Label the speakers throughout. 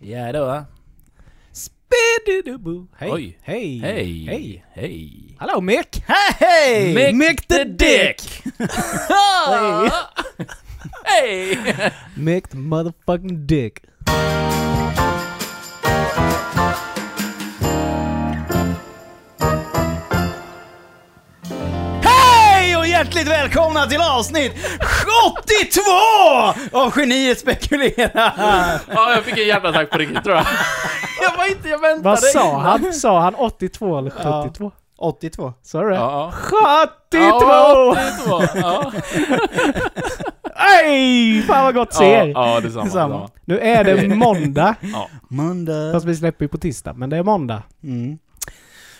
Speaker 1: Ja då. va? Spididubu.
Speaker 2: Hej.
Speaker 1: Oj.
Speaker 2: Hej.
Speaker 1: Hej.
Speaker 2: Hej.
Speaker 1: Hej.
Speaker 2: Hallå Mick!
Speaker 1: Hej! Mick,
Speaker 2: Mick
Speaker 1: the
Speaker 2: the
Speaker 1: dick! Hej!
Speaker 2: Mick the motherfucking dick. Hej och hjärtligt välkomna till avsnitt 82 av Geniet Spekulerar!
Speaker 1: Ja, jag fick en hjärtattack på riktigt tror jag. Jag var inte, jag väntade.
Speaker 3: Vad sa
Speaker 1: innan.
Speaker 3: han? Sa han 82 eller
Speaker 2: Ja.
Speaker 3: 72?
Speaker 2: 82.
Speaker 3: Sa du det?
Speaker 1: Ja.
Speaker 3: 72!
Speaker 1: Ja, 82! Ja.
Speaker 3: Ej! Fan vad gott ser!
Speaker 1: Ja, ja, detsamma.
Speaker 2: Detsamma.
Speaker 1: detsamma.
Speaker 3: Nu är det måndag.
Speaker 2: Måndag.
Speaker 3: Fast vi släpper ju på tisdag, men det är måndag.
Speaker 2: Mm.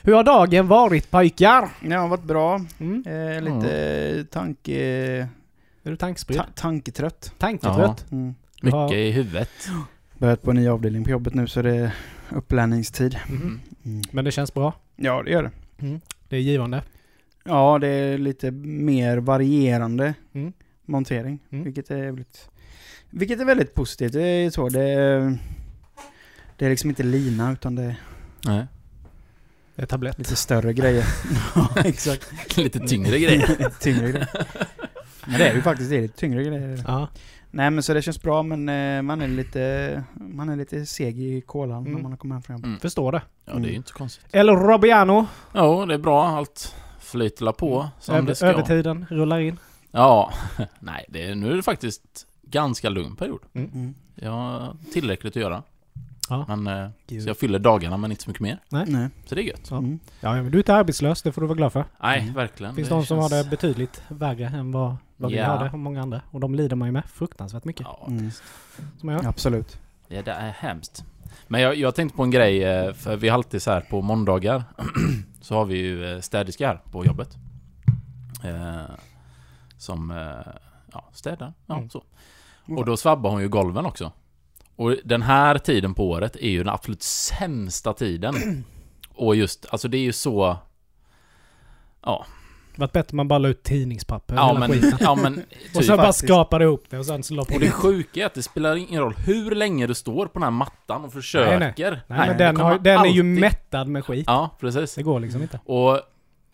Speaker 3: Hur har dagen varit pojkar?
Speaker 2: Det har varit bra.
Speaker 3: Mm.
Speaker 2: Eh, lite eh, tanke...
Speaker 3: Är du tankspridd?
Speaker 2: Ta- tanketrött.
Speaker 3: Tanketrött?
Speaker 2: Mm.
Speaker 1: Mycket
Speaker 3: Ja.
Speaker 1: i huvudet.
Speaker 2: Börjat på en ny avdelning på jobbet nu så det är upplärningstid.
Speaker 1: Mm.
Speaker 3: Mhm. Men det känns bra.
Speaker 2: Ja, det gör det.
Speaker 3: Det är givande.
Speaker 2: Ja, det är lite mer varierande
Speaker 3: Mm.
Speaker 2: montering.
Speaker 3: Mm.
Speaker 2: Vilket, är väldigt, vilket är väldigt positivt. Det är så. Det är, det är liksom inte lina utan det är
Speaker 1: Nej.
Speaker 3: Det är tablett.
Speaker 2: lite större grejer. ja, exakt.
Speaker 1: Lite tyngre grejer.
Speaker 2: tyngre grejer. Men det är ju faktiskt det. är lite tyngre grejer.
Speaker 3: Ja.
Speaker 2: Nej men så det känns bra men eh, man är lite, man är lite seg i kolan när
Speaker 3: Mm.
Speaker 2: man har kommit hem från jobbet.
Speaker 3: Förstår det.
Speaker 1: Ja, det är ju inte så konstigt.
Speaker 3: El Robiano.
Speaker 1: Jo, det är bra. Allt flyter på som det
Speaker 3: Mm. Över,
Speaker 1: ska.
Speaker 3: övertiden rullar in.
Speaker 1: Ja. Nej, det är, nu är det faktiskt ganska lugn period.
Speaker 2: Mm.
Speaker 1: Jag har tillräckligt att göra.
Speaker 3: Ja.
Speaker 1: Men, eh, så jag fyller dagarna men inte så mycket mer.
Speaker 2: Nej.
Speaker 1: Så det är gött.
Speaker 3: Ja.
Speaker 2: Mm.
Speaker 3: Ja, ja, men du är inte arbetslös, det får du vara glad för.
Speaker 1: Nej,
Speaker 2: Mm.
Speaker 1: verkligen.
Speaker 3: Finns det de som
Speaker 1: känns-
Speaker 3: har det betydligt värre än vad, vad
Speaker 1: Ja.
Speaker 3: vi har det, och många andra. Och de lider man ju med fruktansvärt mycket.
Speaker 1: Ja,
Speaker 2: Mm.
Speaker 3: Som jag.
Speaker 2: Absolut.
Speaker 1: det det är hemskt. Men jag, jag tänkte på en grej, eh, för vi har alltid så här på måndagar så har vi ju eh, städerska här på jobbet. Eh, som eh, ja, städar. Ja,
Speaker 3: Mm.
Speaker 1: så. Och då svabbar hon ju golven också. Och den här tiden på året är ju den absolut sämsta tiden. Och just, alltså det är ju så... Ja,
Speaker 3: varit bättre om man bara la ut tidningspapper och
Speaker 1: ja
Speaker 3: hela
Speaker 1: men...
Speaker 3: skiten.
Speaker 1: Ja, men
Speaker 3: Och
Speaker 1: typ.
Speaker 3: sen bara
Speaker 2: faktiskt.
Speaker 3: skrapade ihop det och sen så la på
Speaker 1: Och
Speaker 3: det.
Speaker 1: det sjuka är att det spelar ingen roll hur länge du står på den här mattan och försöker.
Speaker 3: Nej, nej. Nej,
Speaker 2: Nej,
Speaker 3: men
Speaker 1: det
Speaker 3: den, har,
Speaker 1: kommer
Speaker 3: den är ju
Speaker 1: alltid-
Speaker 3: mättad med skit.
Speaker 1: Ja, precis.
Speaker 3: Det går liksom inte.
Speaker 1: Och,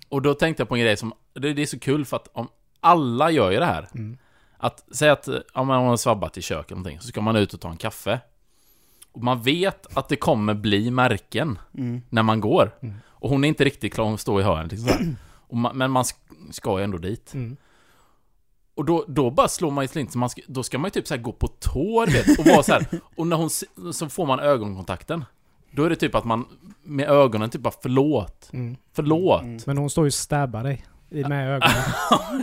Speaker 1: och då tänkte jag på en grej som, det, det är så kul för att om alla gör ju det här.
Speaker 3: Mm.
Speaker 1: Att säga att ja, men om man har svabbat i köket eller någonting, så ska man ut och ta en kaffe. Och man vet att det kommer bli märken
Speaker 2: Mm.
Speaker 1: när man går.
Speaker 3: Mm.
Speaker 1: Och hon är inte riktigt klar, hon står i hörnet liksom så här. och man, Men man sk- ska ju ändå dit.
Speaker 3: Mm.
Speaker 1: Och då, då bara slår man ju slint, så man ska, då ska man ju typ så här gå på tå du vet, och vara så här. Och när hon, se- så får man ögonkontakten. Då är det typ att man med ögonen typ bara förlåt,
Speaker 3: Mm.
Speaker 1: förlåt.
Speaker 3: Men hon står ju och stabbar dig. I med ögonen.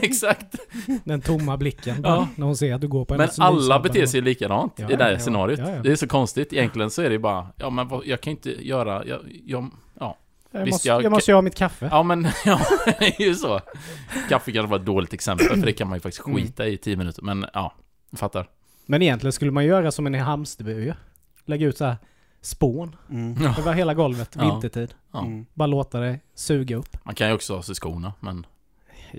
Speaker 1: Exakt.
Speaker 3: Den tomma blicken bara,
Speaker 1: Ja.
Speaker 3: när hon ser att du går på
Speaker 1: Men
Speaker 3: hennes
Speaker 1: alla
Speaker 3: nysabbar.
Speaker 1: beter sig ju likadant
Speaker 3: Ja,
Speaker 1: i det här
Speaker 3: ja,
Speaker 1: scenariot.
Speaker 3: ja, ja.
Speaker 1: Det är så konstigt. Egentligen så är det ju bara, ja men vad, jag kan inte göra, jag, jag, ja.
Speaker 3: Jag
Speaker 1: Visst,
Speaker 3: måste,
Speaker 1: jag-
Speaker 3: jag måste göra mitt kaffe.
Speaker 1: Ja men, ja, det är ju så. Kaffe kanske var ett dåligt exempel, för det kan man ju faktiskt
Speaker 3: Mm.
Speaker 1: skita i i tio minuter. Men ja, jag fattar.
Speaker 3: Men egentligen skulle man göra som en i Hamsterby ju. Lägga ut så här spån
Speaker 2: Mm.
Speaker 1: Ja.
Speaker 3: över hela golvet,
Speaker 1: Ja.
Speaker 3: vintertid.
Speaker 1: Ja.
Speaker 2: Mm.
Speaker 3: Bara låta det suga upp.
Speaker 1: Man kan ju också ha sig skorna, men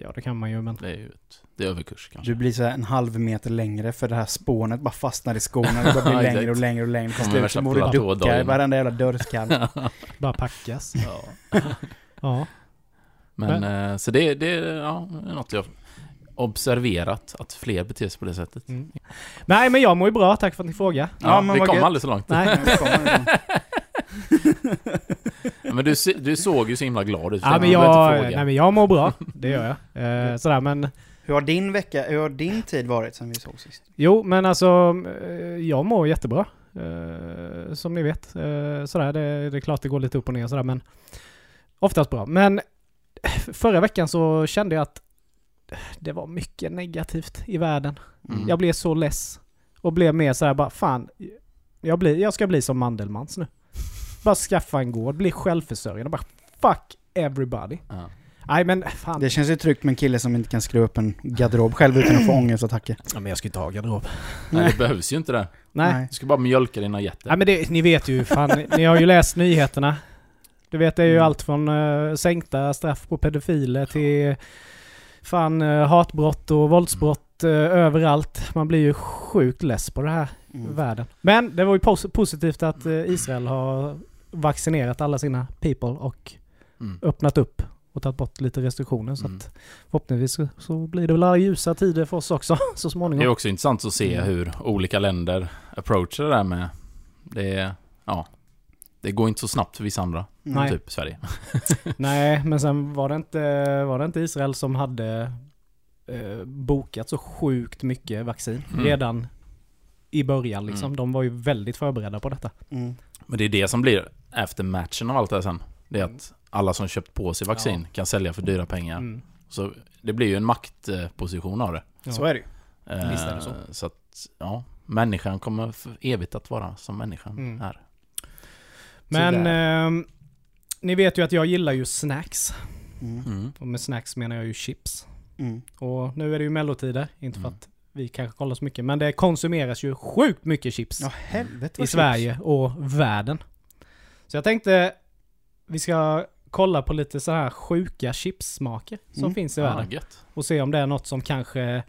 Speaker 3: Ja, det kan man ju, men...
Speaker 1: det är ju ett, det är överkurs kanske.
Speaker 2: Du blir så här en halv meter längre för det här spånet bara fastnar i skorna. Det bara
Speaker 1: Ja,
Speaker 2: blir längre och
Speaker 1: exakt.
Speaker 2: längre och längre. Till
Speaker 1: Kommer
Speaker 2: slut
Speaker 1: värsta
Speaker 2: så borde du ducka i
Speaker 1: platådagen.
Speaker 2: varenda jävla dörrskall.
Speaker 3: Bara packas.
Speaker 1: Ja.
Speaker 3: Ja.
Speaker 1: Men, eh, så det, det ja, det är något jag observerat, att fler beter sig på det sättet.
Speaker 3: Mm. Nej, men jag mår ju bra. Tack för att ni frågar.
Speaker 1: Ja,
Speaker 2: Ja, men
Speaker 1: vi
Speaker 2: vad
Speaker 1: kom
Speaker 2: gött.
Speaker 1: aldrig så långt.
Speaker 3: Nej.
Speaker 1: Men du, se- du såg ju så himla glad ut.
Speaker 3: Ja, men jag, nej, men jag mår bra. Det gör jag. Eh, sådär, men...
Speaker 2: hur har din vecka, hur har din tid varit sen vi såg sist?
Speaker 3: Jo, men alltså, eh, jag mår jättebra. Eh, som ni vet. Eh, sådär, det, det är klart det går lite upp och ner sådär, men oftast bra. Men förra veckan så kände jag att det var mycket negativt i världen.
Speaker 1: Mm.
Speaker 3: Jag blev så less. Och blev mer sådär bara, fan, jag, blir, jag ska bli som Mandelmans nu. Bara skaffa en gård, bli självförsörjande, bara fuck everybody.
Speaker 1: Ja.
Speaker 3: Nej men fan.
Speaker 2: Det känns ju tryggt med en kille som inte kan skruva upp en garderob själv utan att få ångestattacker.
Speaker 3: Ja, men jag ska inte ha garderob.
Speaker 1: Nej, det behövs ju inte det.
Speaker 3: Nej.
Speaker 1: Du ska bara mjölka dina getter.
Speaker 3: Ja, men det, ni vet ju fan, ni har ju läst nyheterna. Du vet det är ju
Speaker 2: Mm.
Speaker 3: allt från eh, sänkta straff på pedofiler till fan eh, hatbrott och våldsbrott eh, överallt. Man blir ju sjukt less på det här.
Speaker 2: Mm.
Speaker 3: världen. Men det var ju pos- positivt att eh, Israel har vaccinerat alla sina people och
Speaker 1: Mm.
Speaker 3: öppnat upp och tagit bort lite restriktioner. Så
Speaker 1: Mm.
Speaker 3: att förhoppningsvis så, så blir det väl alla ljusa tider för oss också så småningom.
Speaker 1: Mm. Det är också intressant att
Speaker 3: Mm.
Speaker 1: se hur olika länder approachar det där med... Det är, ja. Det går inte så snabbt för vissa andra.
Speaker 3: Nej.
Speaker 1: Typ Sverige.
Speaker 3: Nej, men sen var det inte, var det inte Israel som hade eh, bokat så sjukt mycket vaccin
Speaker 1: Mm.
Speaker 3: redan i början liksom.
Speaker 1: Mm.
Speaker 3: De var ju väldigt förberedda på detta.
Speaker 2: Mm.
Speaker 1: Men det är det som blir efter matchen av allt det här sen. Det är att alla som köpt på sig vaccin kan sälja för dyra pengar.
Speaker 3: Mm.
Speaker 1: Så det blir ju en maktposition av det.
Speaker 3: Ja.
Speaker 2: Så är det ju.
Speaker 1: Eh,
Speaker 3: Visst är det så.
Speaker 1: så att, ja. Människan kommer för evigt att vara som människan
Speaker 3: Mm.
Speaker 1: är.
Speaker 3: Men ehm, ni vet ju att jag gillar ju snacks.
Speaker 2: Mm.
Speaker 1: Mm.
Speaker 3: Och med snacks menar jag ju chips.
Speaker 2: Mm.
Speaker 3: Och nu är det ju mellotider, inte för
Speaker 1: Mm.
Speaker 3: att vi kanske kollar så mycket, men det konsumeras ju sjukt mycket chips
Speaker 2: Ja helvete
Speaker 3: i
Speaker 2: vad
Speaker 3: Sverige och världen. Så jag tänkte vi ska kolla på lite så här sjuka chipssmaker som
Speaker 2: Mm.
Speaker 3: finns i
Speaker 1: Ja,
Speaker 3: världen.
Speaker 1: gött.
Speaker 3: Och se om det är något som kanske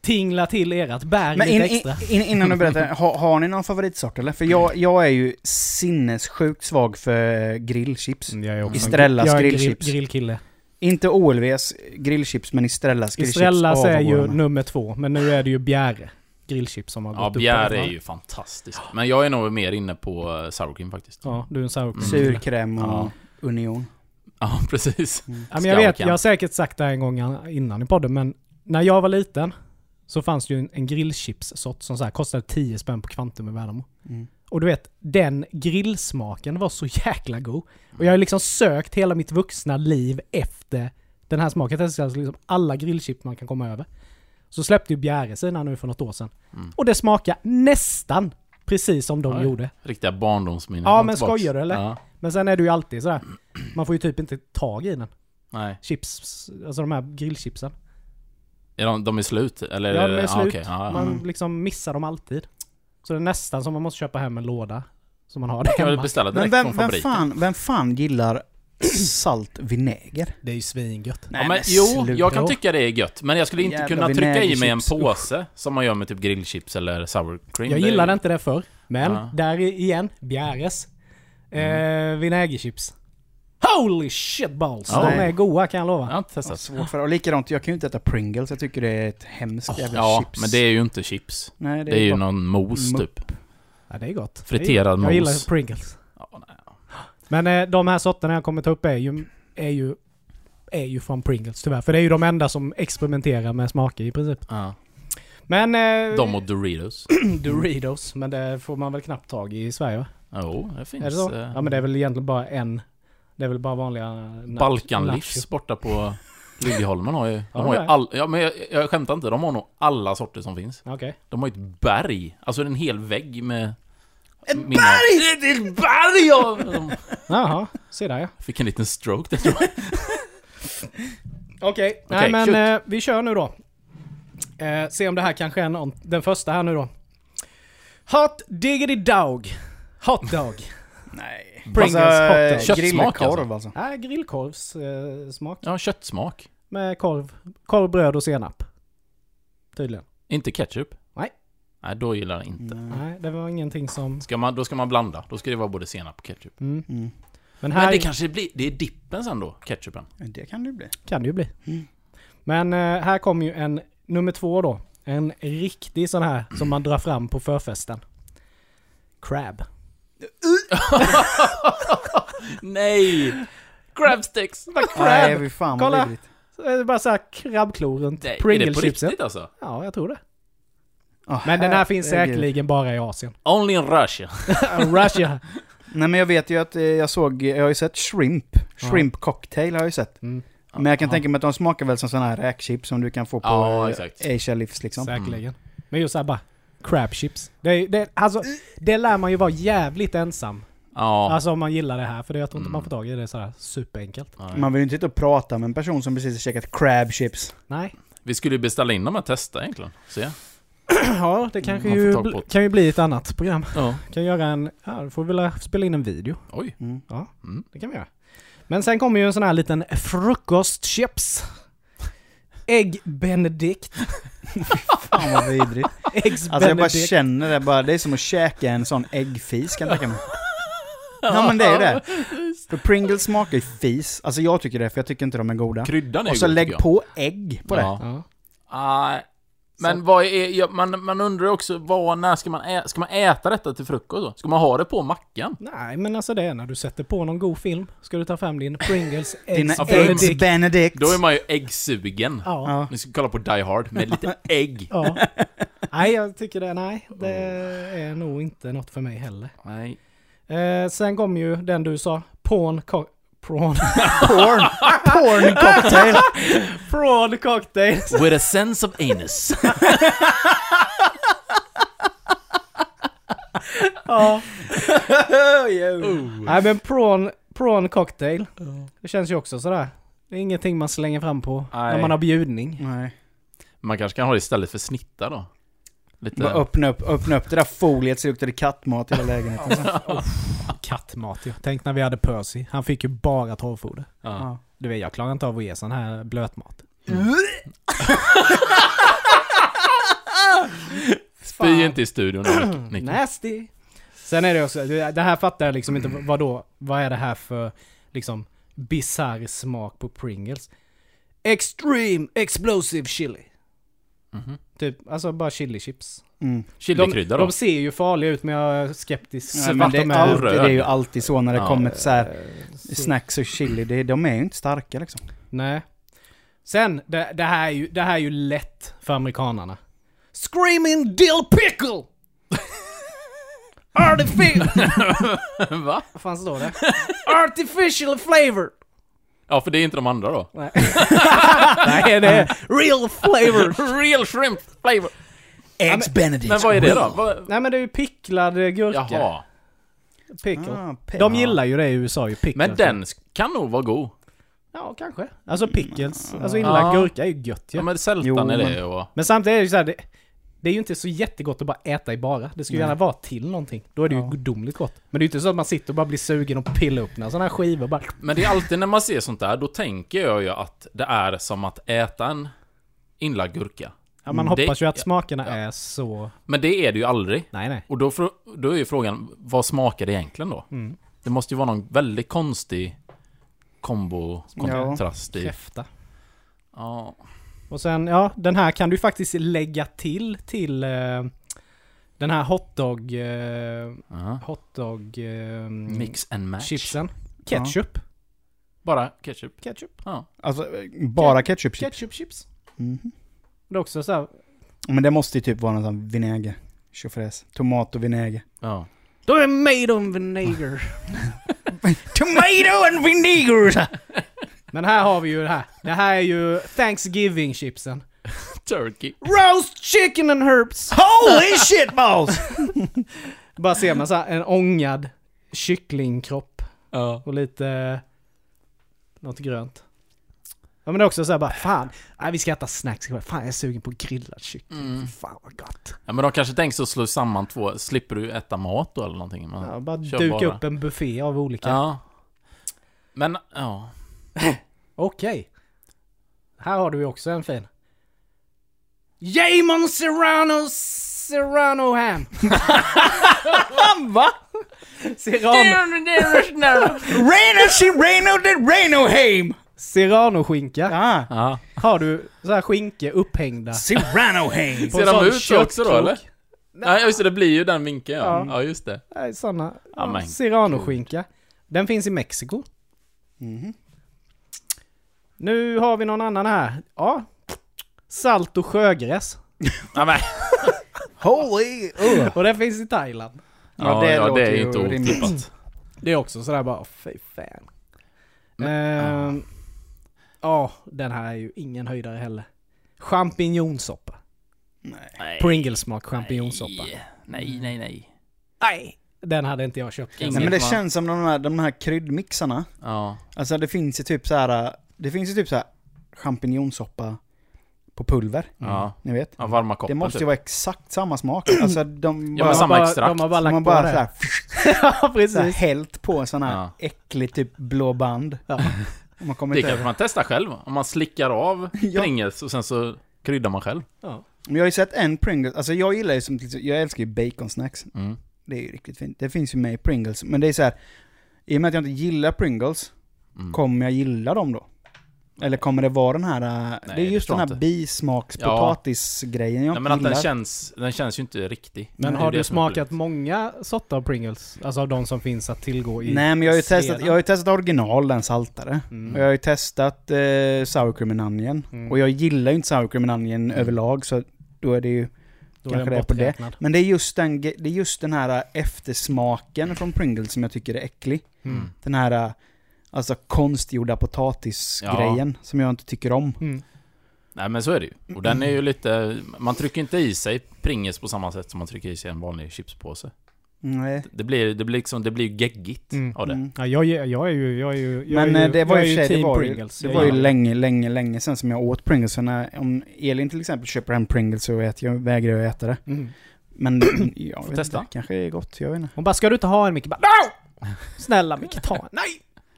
Speaker 3: tinglar till ert berg
Speaker 2: Men
Speaker 3: lite
Speaker 2: in, in,
Speaker 3: extra.
Speaker 2: in, innan du berättar, har, har ni någon favoritsort eller? För jag, jag är ju sinnessjukt svag för eh, grillchips.
Speaker 3: Mm, jag är också en-
Speaker 2: Estrellas
Speaker 3: jag är grill-
Speaker 2: grillchips.
Speaker 3: grillkille.
Speaker 2: Inte OLVs grillchips, men Estrellas grillchips.
Speaker 3: Estrellas är ju
Speaker 2: Avvårdar mig.
Speaker 3: nummer två, men nu är det ju Bjäre grillchips som har gått
Speaker 1: Ja,
Speaker 3: upp.
Speaker 1: Bjär är
Speaker 3: därifrån.
Speaker 1: ju fantastiskt. Men jag är nog mer inne på eh, sour cream faktiskt. Ja,
Speaker 3: Ja, du är en sour cream.
Speaker 1: Mm.
Speaker 2: Surkräm och
Speaker 1: Ja.
Speaker 2: union.
Speaker 1: precis.
Speaker 3: Mm. Ja, men jag vet,
Speaker 1: Skarken.
Speaker 3: jag har säkert sagt det här en gång innan i podden, men när jag var liten så fanns det ju en, en grillchipssort som så här kostade 10 spänn på Kvantum i Värnamo.
Speaker 2: Mm.
Speaker 3: Och du vet, den grillsmaken var så jäkla god. Och jag har liksom sökt hela mitt vuxna liv efter den här smaken. Jag testade alltså liksom alla grillchips man kan komma över. Så släppte ju Bjäre sina nu för något år sedan.
Speaker 1: Mm.
Speaker 3: Och det smakade nästan precis som de
Speaker 1: Oj.
Speaker 3: gjorde.
Speaker 1: Riktiga barndomsminnen.
Speaker 3: Ja,
Speaker 1: kom
Speaker 3: men
Speaker 1: tillbaks.
Speaker 3: skojar du, eller?
Speaker 1: Ja.
Speaker 3: Men sen är det ju alltid sådär, man får ju typ inte tag i den.
Speaker 1: Nej.
Speaker 3: Chips, alltså de här grillchipsen.
Speaker 1: Är de, de är slut? Eller?
Speaker 3: Ja, de är
Speaker 1: Ah,
Speaker 3: slut.
Speaker 1: okej. Ja, ja.
Speaker 3: Man
Speaker 2: Mm.
Speaker 3: liksom missar dem alltid. Så det är nästan som man måste köpa hem en låda. Som man har där
Speaker 1: Kan väl
Speaker 3: hemma.
Speaker 1: beställa direkt
Speaker 2: Men vem,
Speaker 1: från
Speaker 2: vem,
Speaker 1: fabriken?
Speaker 2: fan, vem fan gillar saltvinäger?
Speaker 3: Det är ju svingött.
Speaker 1: Ja, men, jo, jag kan
Speaker 3: Jo.
Speaker 1: tycka det är gött. Men jag skulle inte
Speaker 2: Jävla
Speaker 1: kunna trycka i mig en
Speaker 2: vinägerchips,
Speaker 1: påse som man gör med typ grillchips eller sour cream.
Speaker 3: Jag
Speaker 1: Det är-
Speaker 3: gillade inte det förr. Men
Speaker 1: Ja. Mm.
Speaker 3: där i- igen, Bjäres. Eh, vinägerchips. Holy shit balls!
Speaker 1: Ja.
Speaker 3: De är goda kan jag
Speaker 1: Jag
Speaker 3: lova.
Speaker 1: har inte
Speaker 2: Ja,
Speaker 1: testat.
Speaker 2: svårt för Och likadant, jag kan ju inte äta Pringles. Jag tycker det är ett hemskt jävla
Speaker 1: Ja,
Speaker 2: chips.
Speaker 1: men det är ju inte chips.
Speaker 2: Nej,
Speaker 1: Det är ju
Speaker 2: bara-
Speaker 1: någon mos
Speaker 2: Mupp.
Speaker 1: typ.
Speaker 3: Ja, det är gott.
Speaker 1: Friterad
Speaker 3: Jag gillar
Speaker 1: mos.
Speaker 3: Pringles.
Speaker 1: Ja, nej.
Speaker 3: Men eh, de här sorterna jag kommer ta upp är ju, är ju är ju från Pringles tyvärr. För det är ju de enda som experimenterar med smaker i princip.
Speaker 1: Ja.
Speaker 3: Men... Eh,
Speaker 1: De och Doritos.
Speaker 3: Doritos, men det får man väl knappt tag i i Sverige va?
Speaker 1: Jo, det finns.
Speaker 3: Är det så?
Speaker 1: eh,
Speaker 3: Ja men det är väl egentligen bara en... Det är väl bara vanliga... nach-
Speaker 1: Balkanlivs
Speaker 3: nachos.
Speaker 1: borta på Liljeholmen har ju...
Speaker 3: Ja,
Speaker 1: De har ju
Speaker 3: det är.
Speaker 1: all, ja, men jag, jag skämtar inte, de har nog alla sorter som finns.
Speaker 3: Okej.
Speaker 1: De har ju ett berg. Alltså en hel vägg med... Ett berg! Ett, ett berg av... De
Speaker 3: Jaha, se där ja.
Speaker 1: fick en liten stroke där tror jag. Okej,
Speaker 3: Okej, nej men
Speaker 1: shoot.
Speaker 3: eh, vi kör nu då. Eh, se om det här kanske är någon, den första här nu då. Hot diggity dog. Hot dog.
Speaker 2: Nej. Alltså,
Speaker 3: Pringles hot dog.
Speaker 1: Köttsmak,
Speaker 2: Grillkorv alltså.
Speaker 3: Nej, grillkorvssmak. Äh, Eh, smak.
Speaker 1: Ja, köttsmak.
Speaker 3: med korv, korv, bröd och senap. Tydligen.
Speaker 1: Inte ketchup.
Speaker 3: Nej. Mm.
Speaker 1: Nej, då gillar jag inte.
Speaker 2: Nej.
Speaker 3: Nej, det var ingenting som...
Speaker 1: Ska man, då ska man blanda. Då ska det vara både senap och ketchup.
Speaker 3: Mm.
Speaker 2: Mm.
Speaker 3: Men här
Speaker 1: Men det kanske blir... Det är dippen sen då, ketchupen.
Speaker 2: Det kan det bli.
Speaker 3: kan det ju bli.
Speaker 2: Mm.
Speaker 3: Men eh, här kommer ju en nummer två då. En riktig sån här som man drar fram på förfesten. Crab.
Speaker 1: Nej! Crab sticks!
Speaker 2: Nej, fy fan
Speaker 3: Kolla.
Speaker 2: vad vidrigt.
Speaker 3: Så är det bara så här krabbklor runt
Speaker 1: Nej, är det på
Speaker 3: Pringle-chipsen.
Speaker 1: riktigt alltså?
Speaker 3: Ja, jag tror det.
Speaker 2: Åh,
Speaker 3: Men den här finns
Speaker 2: Ah, herregud.
Speaker 3: säkerligen bara i Asien.
Speaker 1: Only in Russia.
Speaker 3: Russia.
Speaker 2: Nej men jag vet ju att eh, jag såg, jag har ju sett shrimp. Shrimp cocktail har jag ju sett.
Speaker 3: Mm.
Speaker 2: Men jag kan
Speaker 1: Ja.
Speaker 2: tänka mig att de smakar väl som sådana här räkchips som du kan få på
Speaker 1: Ja,
Speaker 2: eh,
Speaker 1: exakt.
Speaker 2: Asia Livs liksom.
Speaker 3: Säkerligen. Men just såhär bara, crab chips. Det, är- det, alltså, det lär man ju vara jävligt ensam.
Speaker 1: Ja.
Speaker 3: Alltså om man gillar det här, för det, jag tror inte
Speaker 1: Mm.
Speaker 3: man får tag i det sådär superenkelt.
Speaker 1: Nej.
Speaker 2: Man vill ju inte sitta och prata med en person som precis har käkat crab chips.
Speaker 3: Nej.
Speaker 1: Vi skulle ju beställa in dem och testa egentligen. Se.
Speaker 3: Ja, det kanske
Speaker 1: Man får
Speaker 3: ju,
Speaker 1: tag på
Speaker 3: bl-
Speaker 1: det.
Speaker 3: kan ju bli ett annat program.
Speaker 1: Ja.
Speaker 3: Kan göra en, ja, då får vi väl spela in en video.
Speaker 1: Oj.
Speaker 2: Mm.
Speaker 1: Mm.
Speaker 3: Det kan vi göra. Men sen kommer ju en sån här liten frukostchips. Ägg Benedict.
Speaker 2: Fan vad vidrigt.
Speaker 3: Eggs
Speaker 2: Alltså jag bara
Speaker 3: Benedict.
Speaker 2: känner det bara, det är som att käka en sån äggfis kan jag tänka mig. Ja men det är ju det. För Pringles smakar ju fis. Alltså jag tycker det, för jag tycker inte de är goda.
Speaker 1: Kryddan är
Speaker 2: Och så
Speaker 1: god,
Speaker 2: lägg
Speaker 1: tycker jag.
Speaker 2: på ägg på det.
Speaker 1: Ja.
Speaker 3: Ja.
Speaker 1: Nej. Men vad är, ja, man, man undrar ju också, vad, när ska man, ä, ska man äta detta till frukost då? Ska man ha det på mackan?
Speaker 3: Nej, men alltså det är när du sätter på någon god film. Ska du ta fram din Pringles
Speaker 2: Dina
Speaker 3: Eggs
Speaker 1: Ja, för-
Speaker 2: Eggs
Speaker 3: Benedict.
Speaker 2: Benedict.
Speaker 1: Då är man ju äggsugen.
Speaker 3: Ja.
Speaker 2: Ja.
Speaker 1: Nu ska vi kolla på Die Hard med lite ägg.
Speaker 3: ja. Nej, jag tycker det. Nej, det
Speaker 2: Mm.
Speaker 3: är nog inte något för mig heller.
Speaker 1: Nej.
Speaker 3: Eh, sen kom ju den du sa. Porn co- Prawn.
Speaker 2: Porn. Porn cocktail.
Speaker 3: prawn cocktail.
Speaker 1: With a sense of anus.
Speaker 3: Ja.
Speaker 2: Oh.
Speaker 3: Nej, men prawn, prawn cocktail. Det känns ju också sådär. Det är ingenting man slänger fram på när
Speaker 1: Nej.
Speaker 3: man har bjudning.
Speaker 2: Nej.
Speaker 1: Man kanske kan ha det istället för snitta då? Lite...
Speaker 2: Bara öppna upp, öppna upp det där foliet så luktar det kattmat i hela lägenheten.
Speaker 3: Kattmat ju. Tänk när vi hade Percy. Han fick ju bara torrfoder.
Speaker 1: Ja.
Speaker 2: Ja.
Speaker 3: Du vet, jag klarar inte av att ge sån här blötmat.
Speaker 1: Spy inte i studion då, Nick. Nick.
Speaker 3: Nasty! Sen är det också, det här fattar jag liksom inte, vad då? Vad är det här för liksom bisarr smak på Pringles? Extreme explosive chili. Typ, alltså bara chili chips.
Speaker 2: Mm.
Speaker 3: De,
Speaker 1: Chilikrydda då?
Speaker 3: de ser ju farliga ut men jag är skeptisk.
Speaker 1: Nej,
Speaker 2: Nej, men det, är
Speaker 1: de är
Speaker 2: alltid, det
Speaker 1: röda.
Speaker 2: är ju alltid så när det
Speaker 1: Ja.
Speaker 2: kommer till så här
Speaker 3: Så-
Speaker 2: snacks och chili. Det, de är ju inte starka liksom.
Speaker 3: Nej. Sen, det, det, här är ju, det här är ju lätt för amerikanarna. Screaming dill pickle! Artificial...
Speaker 1: Va?
Speaker 3: Vad fan står det? Artificial flavor!
Speaker 1: Ja, för det är inte de andra då.
Speaker 3: Nej. Nej, det är real flavor.
Speaker 1: Real shrimp flavor!
Speaker 2: Eggs Benedict.
Speaker 1: Men vad är det då? Vad...
Speaker 3: Nej men det är ju picklad eh, gurka.
Speaker 1: Jaha.
Speaker 3: Pickle.
Speaker 2: Ah, pe-
Speaker 3: De gillar ju det i USA ju, pickles.
Speaker 1: Men den sk- kan nog vara god.
Speaker 3: Ja, kanske. Alltså pickles.
Speaker 2: Mm.
Speaker 3: Alltså inlagd
Speaker 1: Ja.
Speaker 3: gurka är ju gött ju.
Speaker 1: Ja
Speaker 3: men...
Speaker 1: men sältan
Speaker 2: Jo,
Speaker 1: är det
Speaker 2: men-
Speaker 1: och...
Speaker 3: samtidigt är det ju så här, det, det är ju inte så jättegott att bara äta i bara. Det ska ju
Speaker 2: Nej.
Speaker 3: gärna vara till någonting. Då är det ju gudomligt gott. Men det är ju inte så att man sitter och bara blir sugen och pillar upp några sådana här skivor bara.
Speaker 1: Men det är alltid när man ser sånt där, då tänker jag ju att det är som att äta en inlagd gurka.
Speaker 3: Ja, man
Speaker 1: Mm, det-
Speaker 3: hoppas ju att
Speaker 1: ja,
Speaker 3: smakerna är så...
Speaker 1: Men det är det ju aldrig.
Speaker 3: Nej, nej.
Speaker 1: Och då, frå- då är ju frågan, vad smakar det egentligen då?
Speaker 2: Mm.
Speaker 1: Det måste ju vara någon väldigt konstig kombo, kontrast i.
Speaker 3: Kräfta.
Speaker 1: Ja.
Speaker 3: Och sen, ja, den här kan du faktiskt lägga till till eh, den här hotdog... Eh,
Speaker 1: Aha.
Speaker 3: hotdog... Eh,
Speaker 2: Mm.
Speaker 1: Mix and match.
Speaker 3: Chipsen. Ketchup.
Speaker 1: Bara ketchup.
Speaker 3: Ketchup.
Speaker 1: Ja.
Speaker 2: Alltså, bara ketchup chips.
Speaker 3: Ketchup chips.
Speaker 2: Mhm.
Speaker 3: Det är också så här,
Speaker 2: Men det måste ju typ vara någon sån vinäger. Tjofräs. Tomat och vinäger.
Speaker 1: ja.
Speaker 3: Då är made on vinegar.
Speaker 2: Tomato and vinegar!
Speaker 3: Men här har vi ju det här. Det här är ju Thanksgiving chipsen.
Speaker 1: Turkey.
Speaker 3: Roast chicken and herbs!
Speaker 2: Holy shit balls!
Speaker 3: Bara ser man så här en ångad kycklingkropp
Speaker 1: Ja.
Speaker 3: och lite... eh, Något grönt. Ja men det är också såhär bara fan, nej, vi ska äta snacks ikväll. Fan jag är sugen på grillad kyckling. Fy Fan vad gott.
Speaker 1: ja. Men de kanske tänker sig att slå samman två, slipper du äta mat då eller någonting? Man
Speaker 3: Ja, bara
Speaker 1: kör
Speaker 3: duka upp en buffé av olika.
Speaker 1: Ja. Men, ja.
Speaker 3: Okej. Här har du ju också en fin. Jamon Serrano Serrano Ham. Va? Serrano,
Speaker 2: Raino Shirano de Rainoheim!
Speaker 3: Serrano skinka.
Speaker 2: Ah,
Speaker 1: ja.
Speaker 3: Har du så här skinke upphängda.
Speaker 2: Serranoheim!
Speaker 1: Ser
Speaker 3: en sån
Speaker 1: de ut så också då
Speaker 3: köttkrok.
Speaker 1: eller? Nej just det, det blir ju den vinkeln ja.
Speaker 3: Ja.
Speaker 1: Ja just det.
Speaker 3: Nej, såna.
Speaker 1: Ja,
Speaker 3: Ja,
Speaker 1: men
Speaker 3: Serrano skinka. Den finns i Mexiko.
Speaker 1: Mhm.
Speaker 3: Nu har vi någon annan här. Ja. Salt och sjögräs.
Speaker 1: Ja, men,
Speaker 2: Holy... Uh.
Speaker 3: Och den finns i Thailand.
Speaker 1: ja, det, ja, det är ju inte
Speaker 2: rimligt.
Speaker 1: otippat. Mm.
Speaker 3: Det är också sådär bara, fy fan. Ehm,
Speaker 2: ah.
Speaker 3: Ja, den här är ju ingen höjdare heller. Champinjonsoppa.
Speaker 1: Nej.
Speaker 3: Pringlesmak champinjonsoppa.
Speaker 1: Nej, nej, nej.
Speaker 3: Nej. Den hade inte jag köpt.
Speaker 1: Ingen.
Speaker 2: Nej men det
Speaker 1: Man-
Speaker 2: känns som de här, de här kryddmixarna.
Speaker 1: Ja.
Speaker 2: Alltså det finns ju typ så här. Det finns ju typ så här champinjonsoppa på pulver.
Speaker 1: Ja.
Speaker 2: Ni vet.
Speaker 1: ja varma koppar
Speaker 2: Det måste ju
Speaker 1: typ.
Speaker 2: vara exakt samma smak. Alltså de
Speaker 1: Mm. Ja, men
Speaker 2: bara,
Speaker 3: De har
Speaker 1: samma
Speaker 3: bara-
Speaker 1: extrakt.
Speaker 3: De har bara lagt
Speaker 2: man
Speaker 3: på
Speaker 2: bara
Speaker 3: det.
Speaker 2: såhär,
Speaker 3: ja,
Speaker 2: såhär
Speaker 3: precis.
Speaker 2: hällt på sån här
Speaker 1: Ja.
Speaker 2: äcklig typ blå band.
Speaker 3: Ja.
Speaker 2: Om man kommer
Speaker 1: Det
Speaker 2: inte
Speaker 1: kanske
Speaker 2: över.
Speaker 1: man testar själv. Om man slickar av
Speaker 2: Ja.
Speaker 1: Pringles och sen så kryddar man själv.
Speaker 3: Ja.
Speaker 2: Men jag har ju sett en Pringles, alltså jag gillar ju som, till exempel- jag älskar ju baconsnacks.
Speaker 1: Mm.
Speaker 2: Det är ju riktigt fint. Det finns ju med i Pringles, men det är så här. i och med att jag inte gillar Pringles,
Speaker 1: Mm.
Speaker 2: kommer jag gilla dem då? Eller kommer det vara den här, äh,
Speaker 1: Nej,
Speaker 2: det är
Speaker 1: det
Speaker 2: just
Speaker 1: tror
Speaker 2: den
Speaker 1: jag
Speaker 2: här
Speaker 1: inte.
Speaker 2: bismakspotatisgrejen
Speaker 1: Nej,
Speaker 2: jag inte
Speaker 1: men att
Speaker 2: gillar.
Speaker 1: den känns, den känns ju inte riktig.
Speaker 3: Men
Speaker 1: Det är
Speaker 3: har
Speaker 1: det
Speaker 3: du
Speaker 1: som är
Speaker 3: smakat många sorter av Pringles? Alltså av de som finns att tillgå i...
Speaker 2: Nej men jag har ju testat,
Speaker 3: sedan?
Speaker 2: jag har ju testat original, den saltade.
Speaker 3: Mm.
Speaker 2: Och jag har ju testat eh, sour cream and onion.
Speaker 3: Mm.
Speaker 2: Och jag gillar ju inte sour cream and onion
Speaker 1: Mm.
Speaker 2: överlag så då är det ju...
Speaker 3: Då
Speaker 2: kanske det är på det. Men det är just den, ge- det är just den här eh, eftersmaken från Pringles som jag tycker är äcklig.
Speaker 3: Mm.
Speaker 2: Den här eh, alltså konstgjorda potatisgrejen som jag inte tycker om.
Speaker 3: Mm.
Speaker 1: Nej men så är det ju. Och den är ju lite... Man trycker inte i sig Pringles på samma sätt som man trycker i sig en vanlig chipspåse.
Speaker 2: Nej.
Speaker 1: Det blir, det blir liksom, det blir ju geggigt
Speaker 3: Mm.
Speaker 1: av det.
Speaker 2: Mm.
Speaker 3: Ja, jag, ge- jag är ju... Jag är ju jag
Speaker 2: Men
Speaker 3: är ju,
Speaker 2: eh, det var
Speaker 3: jag är
Speaker 2: ju, i och för sig, det
Speaker 3: team
Speaker 2: var ju,
Speaker 3: Pringles.
Speaker 2: det
Speaker 3: Jag
Speaker 2: var ju
Speaker 3: gillar
Speaker 2: länge, länge, länge sedan som jag åt Pringles. Så när, om Elin till exempel köper hem Pringles så äter jag, vägrar jag äta det.
Speaker 3: det. Mm.
Speaker 2: Men jag vet
Speaker 1: testa.
Speaker 2: inte, kanske är gott, jag vet inte.
Speaker 3: Hon bara 'Ska du inte ha en Micke?' Bara, no! Snälla Micke, ta en! Nej!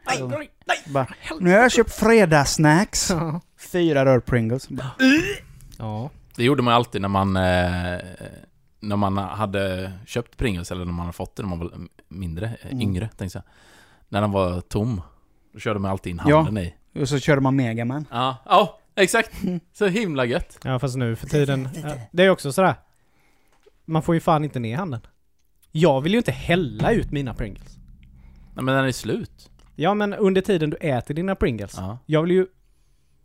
Speaker 2: Nej, nej, Alltså, Bara, nu har jag köpt fredagssnacks.
Speaker 3: Ja.
Speaker 2: Fyra rör Pringles. Bara,
Speaker 3: Ja.
Speaker 1: Det gjorde man ju alltid när man... Eh, när man hade köpt Pringles eller när man hade fått det när man var mindre, eh,
Speaker 2: Mm.
Speaker 1: yngre tänkte jag. När den var tom. Då körde man alltid in
Speaker 2: Ja.
Speaker 1: handen i.
Speaker 2: Och så körde man Megaman.
Speaker 1: Ja, ja exakt! Så himla gött.
Speaker 3: ja, fast nu för tiden... ja, Det är också sådär... Man får ju fan inte ner handen. Jag vill ju inte hälla ut mina Pringles.
Speaker 1: Nej men den är slut.
Speaker 3: Ja, men under tiden du äter dina Pringles.
Speaker 1: Ja,
Speaker 3: Jag vill ju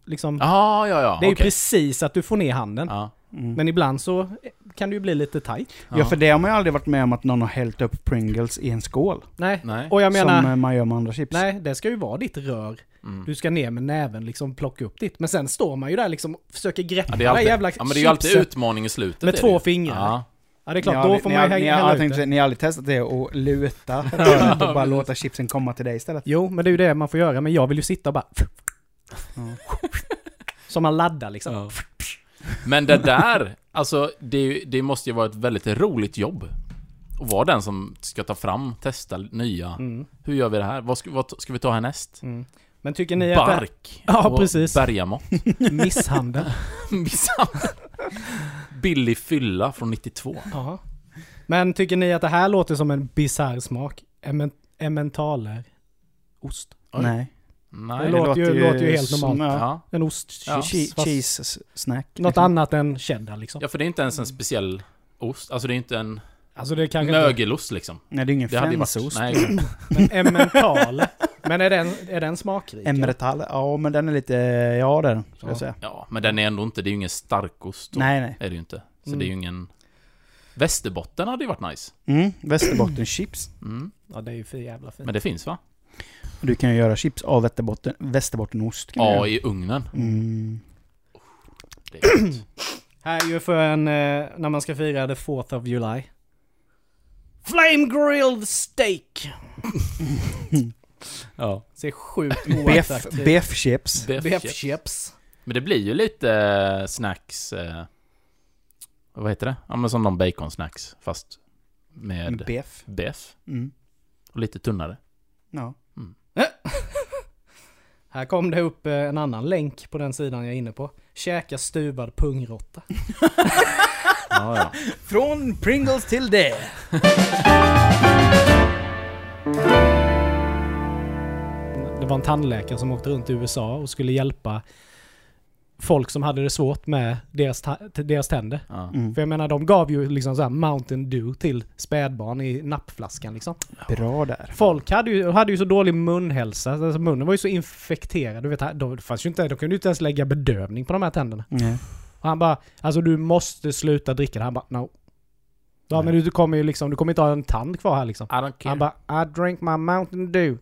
Speaker 3: liksom...
Speaker 1: Jaha, ja, ja.
Speaker 3: det är ju
Speaker 1: okej.
Speaker 3: precis att du får ner handen.
Speaker 1: Ja.
Speaker 2: Mm.
Speaker 3: Men ibland så eh, kan det ju bli lite tight.
Speaker 2: Ja, för det har man ju aldrig varit med om att någon har hällt upp Pringles i en skål.
Speaker 3: Nej.
Speaker 1: Nej.
Speaker 3: Och jag menar...
Speaker 2: Som eh, man gör med andra chips.
Speaker 3: Nej, det ska ju vara ditt rör.
Speaker 1: Mm.
Speaker 3: Du ska ner med näven liksom plocka upp ditt. Men sen står man ju där liksom och försöker greppa
Speaker 1: Ja,
Speaker 3: ja,
Speaker 1: det är alltid,
Speaker 3: jävla
Speaker 1: ja, men det är ju alltid
Speaker 3: chipset
Speaker 1: utmaning i slutet.
Speaker 3: med
Speaker 1: är det
Speaker 3: två
Speaker 1: ju.
Speaker 3: fingrar. Ja.
Speaker 1: Ja.
Speaker 3: det är klart,
Speaker 2: ni
Speaker 3: då
Speaker 2: har,
Speaker 3: får
Speaker 2: ni,
Speaker 3: man ju
Speaker 2: har, ni,
Speaker 3: hänga
Speaker 2: har, jag
Speaker 3: hälla ut
Speaker 2: tänkte
Speaker 3: det.
Speaker 2: säga, ni har aldrig testat det och luta röret och bara låta chipsen komma till dig istället?
Speaker 3: Jo, men det är ju det man får göra. Men jag vill ju sitta och bara... Som man laddar liksom.
Speaker 1: Ja. Men det där, alltså det, är ju- det måste ju vara ett väldigt roligt jobb. Att vara den som ska ta fram, testa nya.
Speaker 3: Mm,
Speaker 1: Hur gör vi det här? Vad ska, vad ska vi ta härnäst?
Speaker 3: mm. Men tycker ni att det
Speaker 1: Bark!
Speaker 3: Ja,
Speaker 1: och
Speaker 3: precis.
Speaker 1: bergamott.
Speaker 3: är misshandel?
Speaker 1: Billig fylla från 92.
Speaker 3: Ja. Men tycker ni att det här låter som en bisarr smak? Emen- Emmentaler. Ost.
Speaker 1: Oj.
Speaker 2: Nej.
Speaker 1: Nej.
Speaker 3: Det låter ju- låter ju helt
Speaker 2: som-
Speaker 3: normalt.
Speaker 2: ja.
Speaker 1: Ja.
Speaker 3: En ost.
Speaker 1: Ja.
Speaker 3: Cheese.
Speaker 2: Che-
Speaker 3: fast
Speaker 2: Cheese snack.
Speaker 3: Något
Speaker 2: liksom.
Speaker 3: annat än cheddar liksom.
Speaker 1: ja, för det är inte ens en speciell ost. Alltså det är inte en
Speaker 3: Alltså det kanske inte...
Speaker 1: mögelost liksom.
Speaker 2: Nej, det är ingen
Speaker 1: Det hade ju varit...
Speaker 2: flensost.
Speaker 1: Nej, exakt.
Speaker 3: Men emmental. Men är den, är den smakrik?
Speaker 2: Emretal, ja men den är lite, ja det är den, ska
Speaker 3: Ja.
Speaker 2: jag säga.
Speaker 1: ja, men den är ändå inte, det är ju ingen starkost.
Speaker 2: Nej nej.
Speaker 1: är det ju inte. Så
Speaker 3: Mm.
Speaker 1: det är ju ingen... Västerbotten hade ju varit nice.
Speaker 2: Mm, Västerbottenchips.
Speaker 1: Mm.
Speaker 3: Ja, det är ju för jävla fint.
Speaker 1: Men det finns va?
Speaker 2: Du kan ju göra chips av Västerbotten, Västerbottenost kan du
Speaker 1: Ja,
Speaker 2: göra.
Speaker 1: i ugnen.
Speaker 2: Mm.
Speaker 1: Det är gott.
Speaker 3: Här är ju för en, eh, när man ska fira the 4th of July. Flame grilled steak!
Speaker 1: ja.
Speaker 3: Ser sjukt
Speaker 2: Beef,
Speaker 3: oattraktivt.
Speaker 2: beef chips.
Speaker 1: Beef
Speaker 3: Beef
Speaker 1: chips.
Speaker 3: chips.
Speaker 1: Men det blir ju lite eh, snacks... Eh, vad heter det? Ja men som de bacon snacks fast med beef.
Speaker 2: Beef. Mm.
Speaker 1: Och lite tunnare.
Speaker 2: Ja.
Speaker 3: Här kom det upp eh, en annan länk på den sidan jag är inne på. Käka stuvad pungrotta.
Speaker 1: Ja, ja.
Speaker 2: Från Pringles till det.
Speaker 3: Det var en tandläkare som åkte runt i USA och skulle hjälpa folk som hade det svårt med deras, ta- deras tänder.
Speaker 1: Ja.
Speaker 2: Mm.
Speaker 3: För jag menar, de gav ju liksom så här Mountain Dew till spädbarn i nappflaskan liksom.
Speaker 2: Bra där.
Speaker 3: Folk hade ju, hade ju så dålig munhälsa, alltså munnen var ju så infekterad. Du vet, här- då, fanns ju inte, då kunde du inte ens lägga bedövning på de här tänderna.
Speaker 2: Nej.
Speaker 3: Och han bara, alltså du måste sluta dricka det. Han bara, no. Ja
Speaker 1: Nej.
Speaker 3: men du, du kommer ju liksom, du kommer inte ha en tand kvar här liksom.
Speaker 1: I don't care.
Speaker 3: Han bara, I drink my Mountain Dew.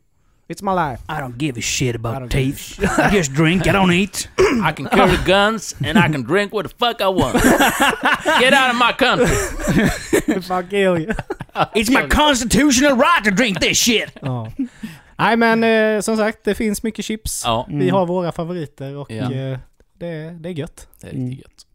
Speaker 3: It's my life.
Speaker 2: I don't give a shit
Speaker 3: I don't
Speaker 2: about
Speaker 3: give a
Speaker 2: teeth. I just drink, I don't eat.
Speaker 1: I can carry guns and I can drink what the fuck I want. Get out of my country!
Speaker 3: Fuck you.
Speaker 2: It's my constitutional right to drink this shit.
Speaker 3: ja. Nej men eh, som sagt, det finns mycket chips.
Speaker 1: Ja,
Speaker 3: Vi har våra favoriter och
Speaker 1: Ja.
Speaker 3: eh, det, det är gött.
Speaker 1: det är riktigt gött.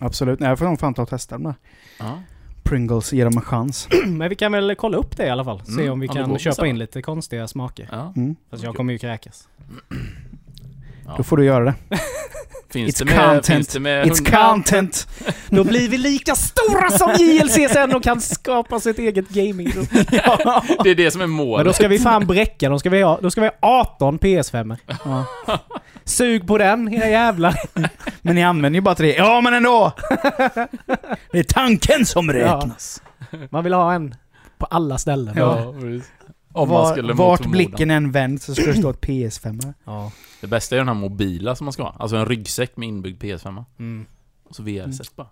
Speaker 2: Absolut, nej jag får nog fan ta och testa dem där.
Speaker 1: Ja.
Speaker 2: Pringles, ge dem en chans.
Speaker 3: Men vi kan väl kolla upp det i alla fall. Se
Speaker 1: Mm,
Speaker 3: om vi
Speaker 1: om det
Speaker 3: kan
Speaker 1: går.
Speaker 3: köpa
Speaker 1: Samma.
Speaker 3: in lite konstiga smaker.
Speaker 1: Ja.
Speaker 2: Mm.
Speaker 3: Fast jag kommer ju kräkas.
Speaker 2: Då får du göra det.
Speaker 1: Finns,
Speaker 2: It's
Speaker 1: det med,
Speaker 2: content.
Speaker 1: finns det med...
Speaker 2: It's
Speaker 1: hundra-
Speaker 2: content!
Speaker 3: Då blir vi lika stora som JLC sen och kan skapa sitt eget gaming
Speaker 1: Det är det som är
Speaker 3: Men
Speaker 1: målet.
Speaker 3: då ska vi fan bräcka dem. Ska vi ha, då ska vi ha 18 PS5.
Speaker 2: Ja.
Speaker 3: Sug på den, era jävlar.
Speaker 2: Men ni använder ju bara tre. Ja, men ändå! Det är tanken som räknas.
Speaker 3: Man vill ha en på alla ställen.
Speaker 1: Ja, precis. Om man
Speaker 2: Var,
Speaker 1: skulle
Speaker 2: vart
Speaker 1: mot förmodan.
Speaker 2: blicken än vänd så skulle det stå ett PS5. här.
Speaker 3: Ja.
Speaker 1: Det bästa är den här mobila som man ska ha. Alltså en ryggsäck med inbyggd PS5.
Speaker 3: Mm.
Speaker 1: Och så VR-set bara.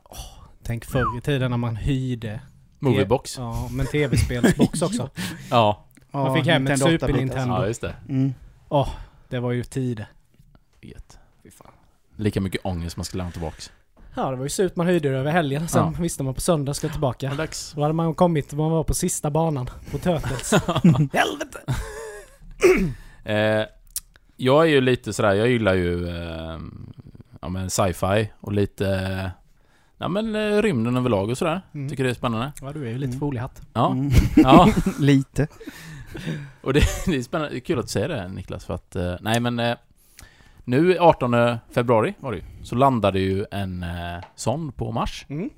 Speaker 3: Tänk förr i tiden när man hyrde.
Speaker 1: Moviebox.
Speaker 3: Ja, men tv-spelsbox också.
Speaker 1: Ja.
Speaker 3: Man fick
Speaker 2: Ja,
Speaker 3: hem ett
Speaker 2: Nintendo
Speaker 3: Super
Speaker 2: 8-bit,
Speaker 3: Nintendo.
Speaker 1: ja, just det.
Speaker 2: alltså. Mm.
Speaker 3: Det var ju tider.
Speaker 1: Vet. Lika mycket ångest man skulle lämna tillbaks.
Speaker 3: Ja, det var ju surt man hyrde det över helgen. Sen visste man på söndag skulle tillbaka.
Speaker 1: Alex.
Speaker 3: Då hade man kommit, man var på sista banan på Turtles.
Speaker 2: Helvete!
Speaker 1: Eh, jag är ju lite sådär, jag gillar ju eh, ja, men sci-fi och lite eh, ja, men, eh, rymden överlag och sådär.
Speaker 3: Mm.
Speaker 1: Tycker det är spännande.
Speaker 3: Ja, du är ju lite
Speaker 2: Mm.
Speaker 3: foliehatt.
Speaker 1: Ja,
Speaker 2: Mm.
Speaker 1: ja.
Speaker 2: Lite.
Speaker 1: Och det, det är spännande. Det är kul att du säger det Niklas för att, eh, nej men eh, nu 18 februari var det ju, så landade ju en eh, sond på Mars.
Speaker 3: Mm.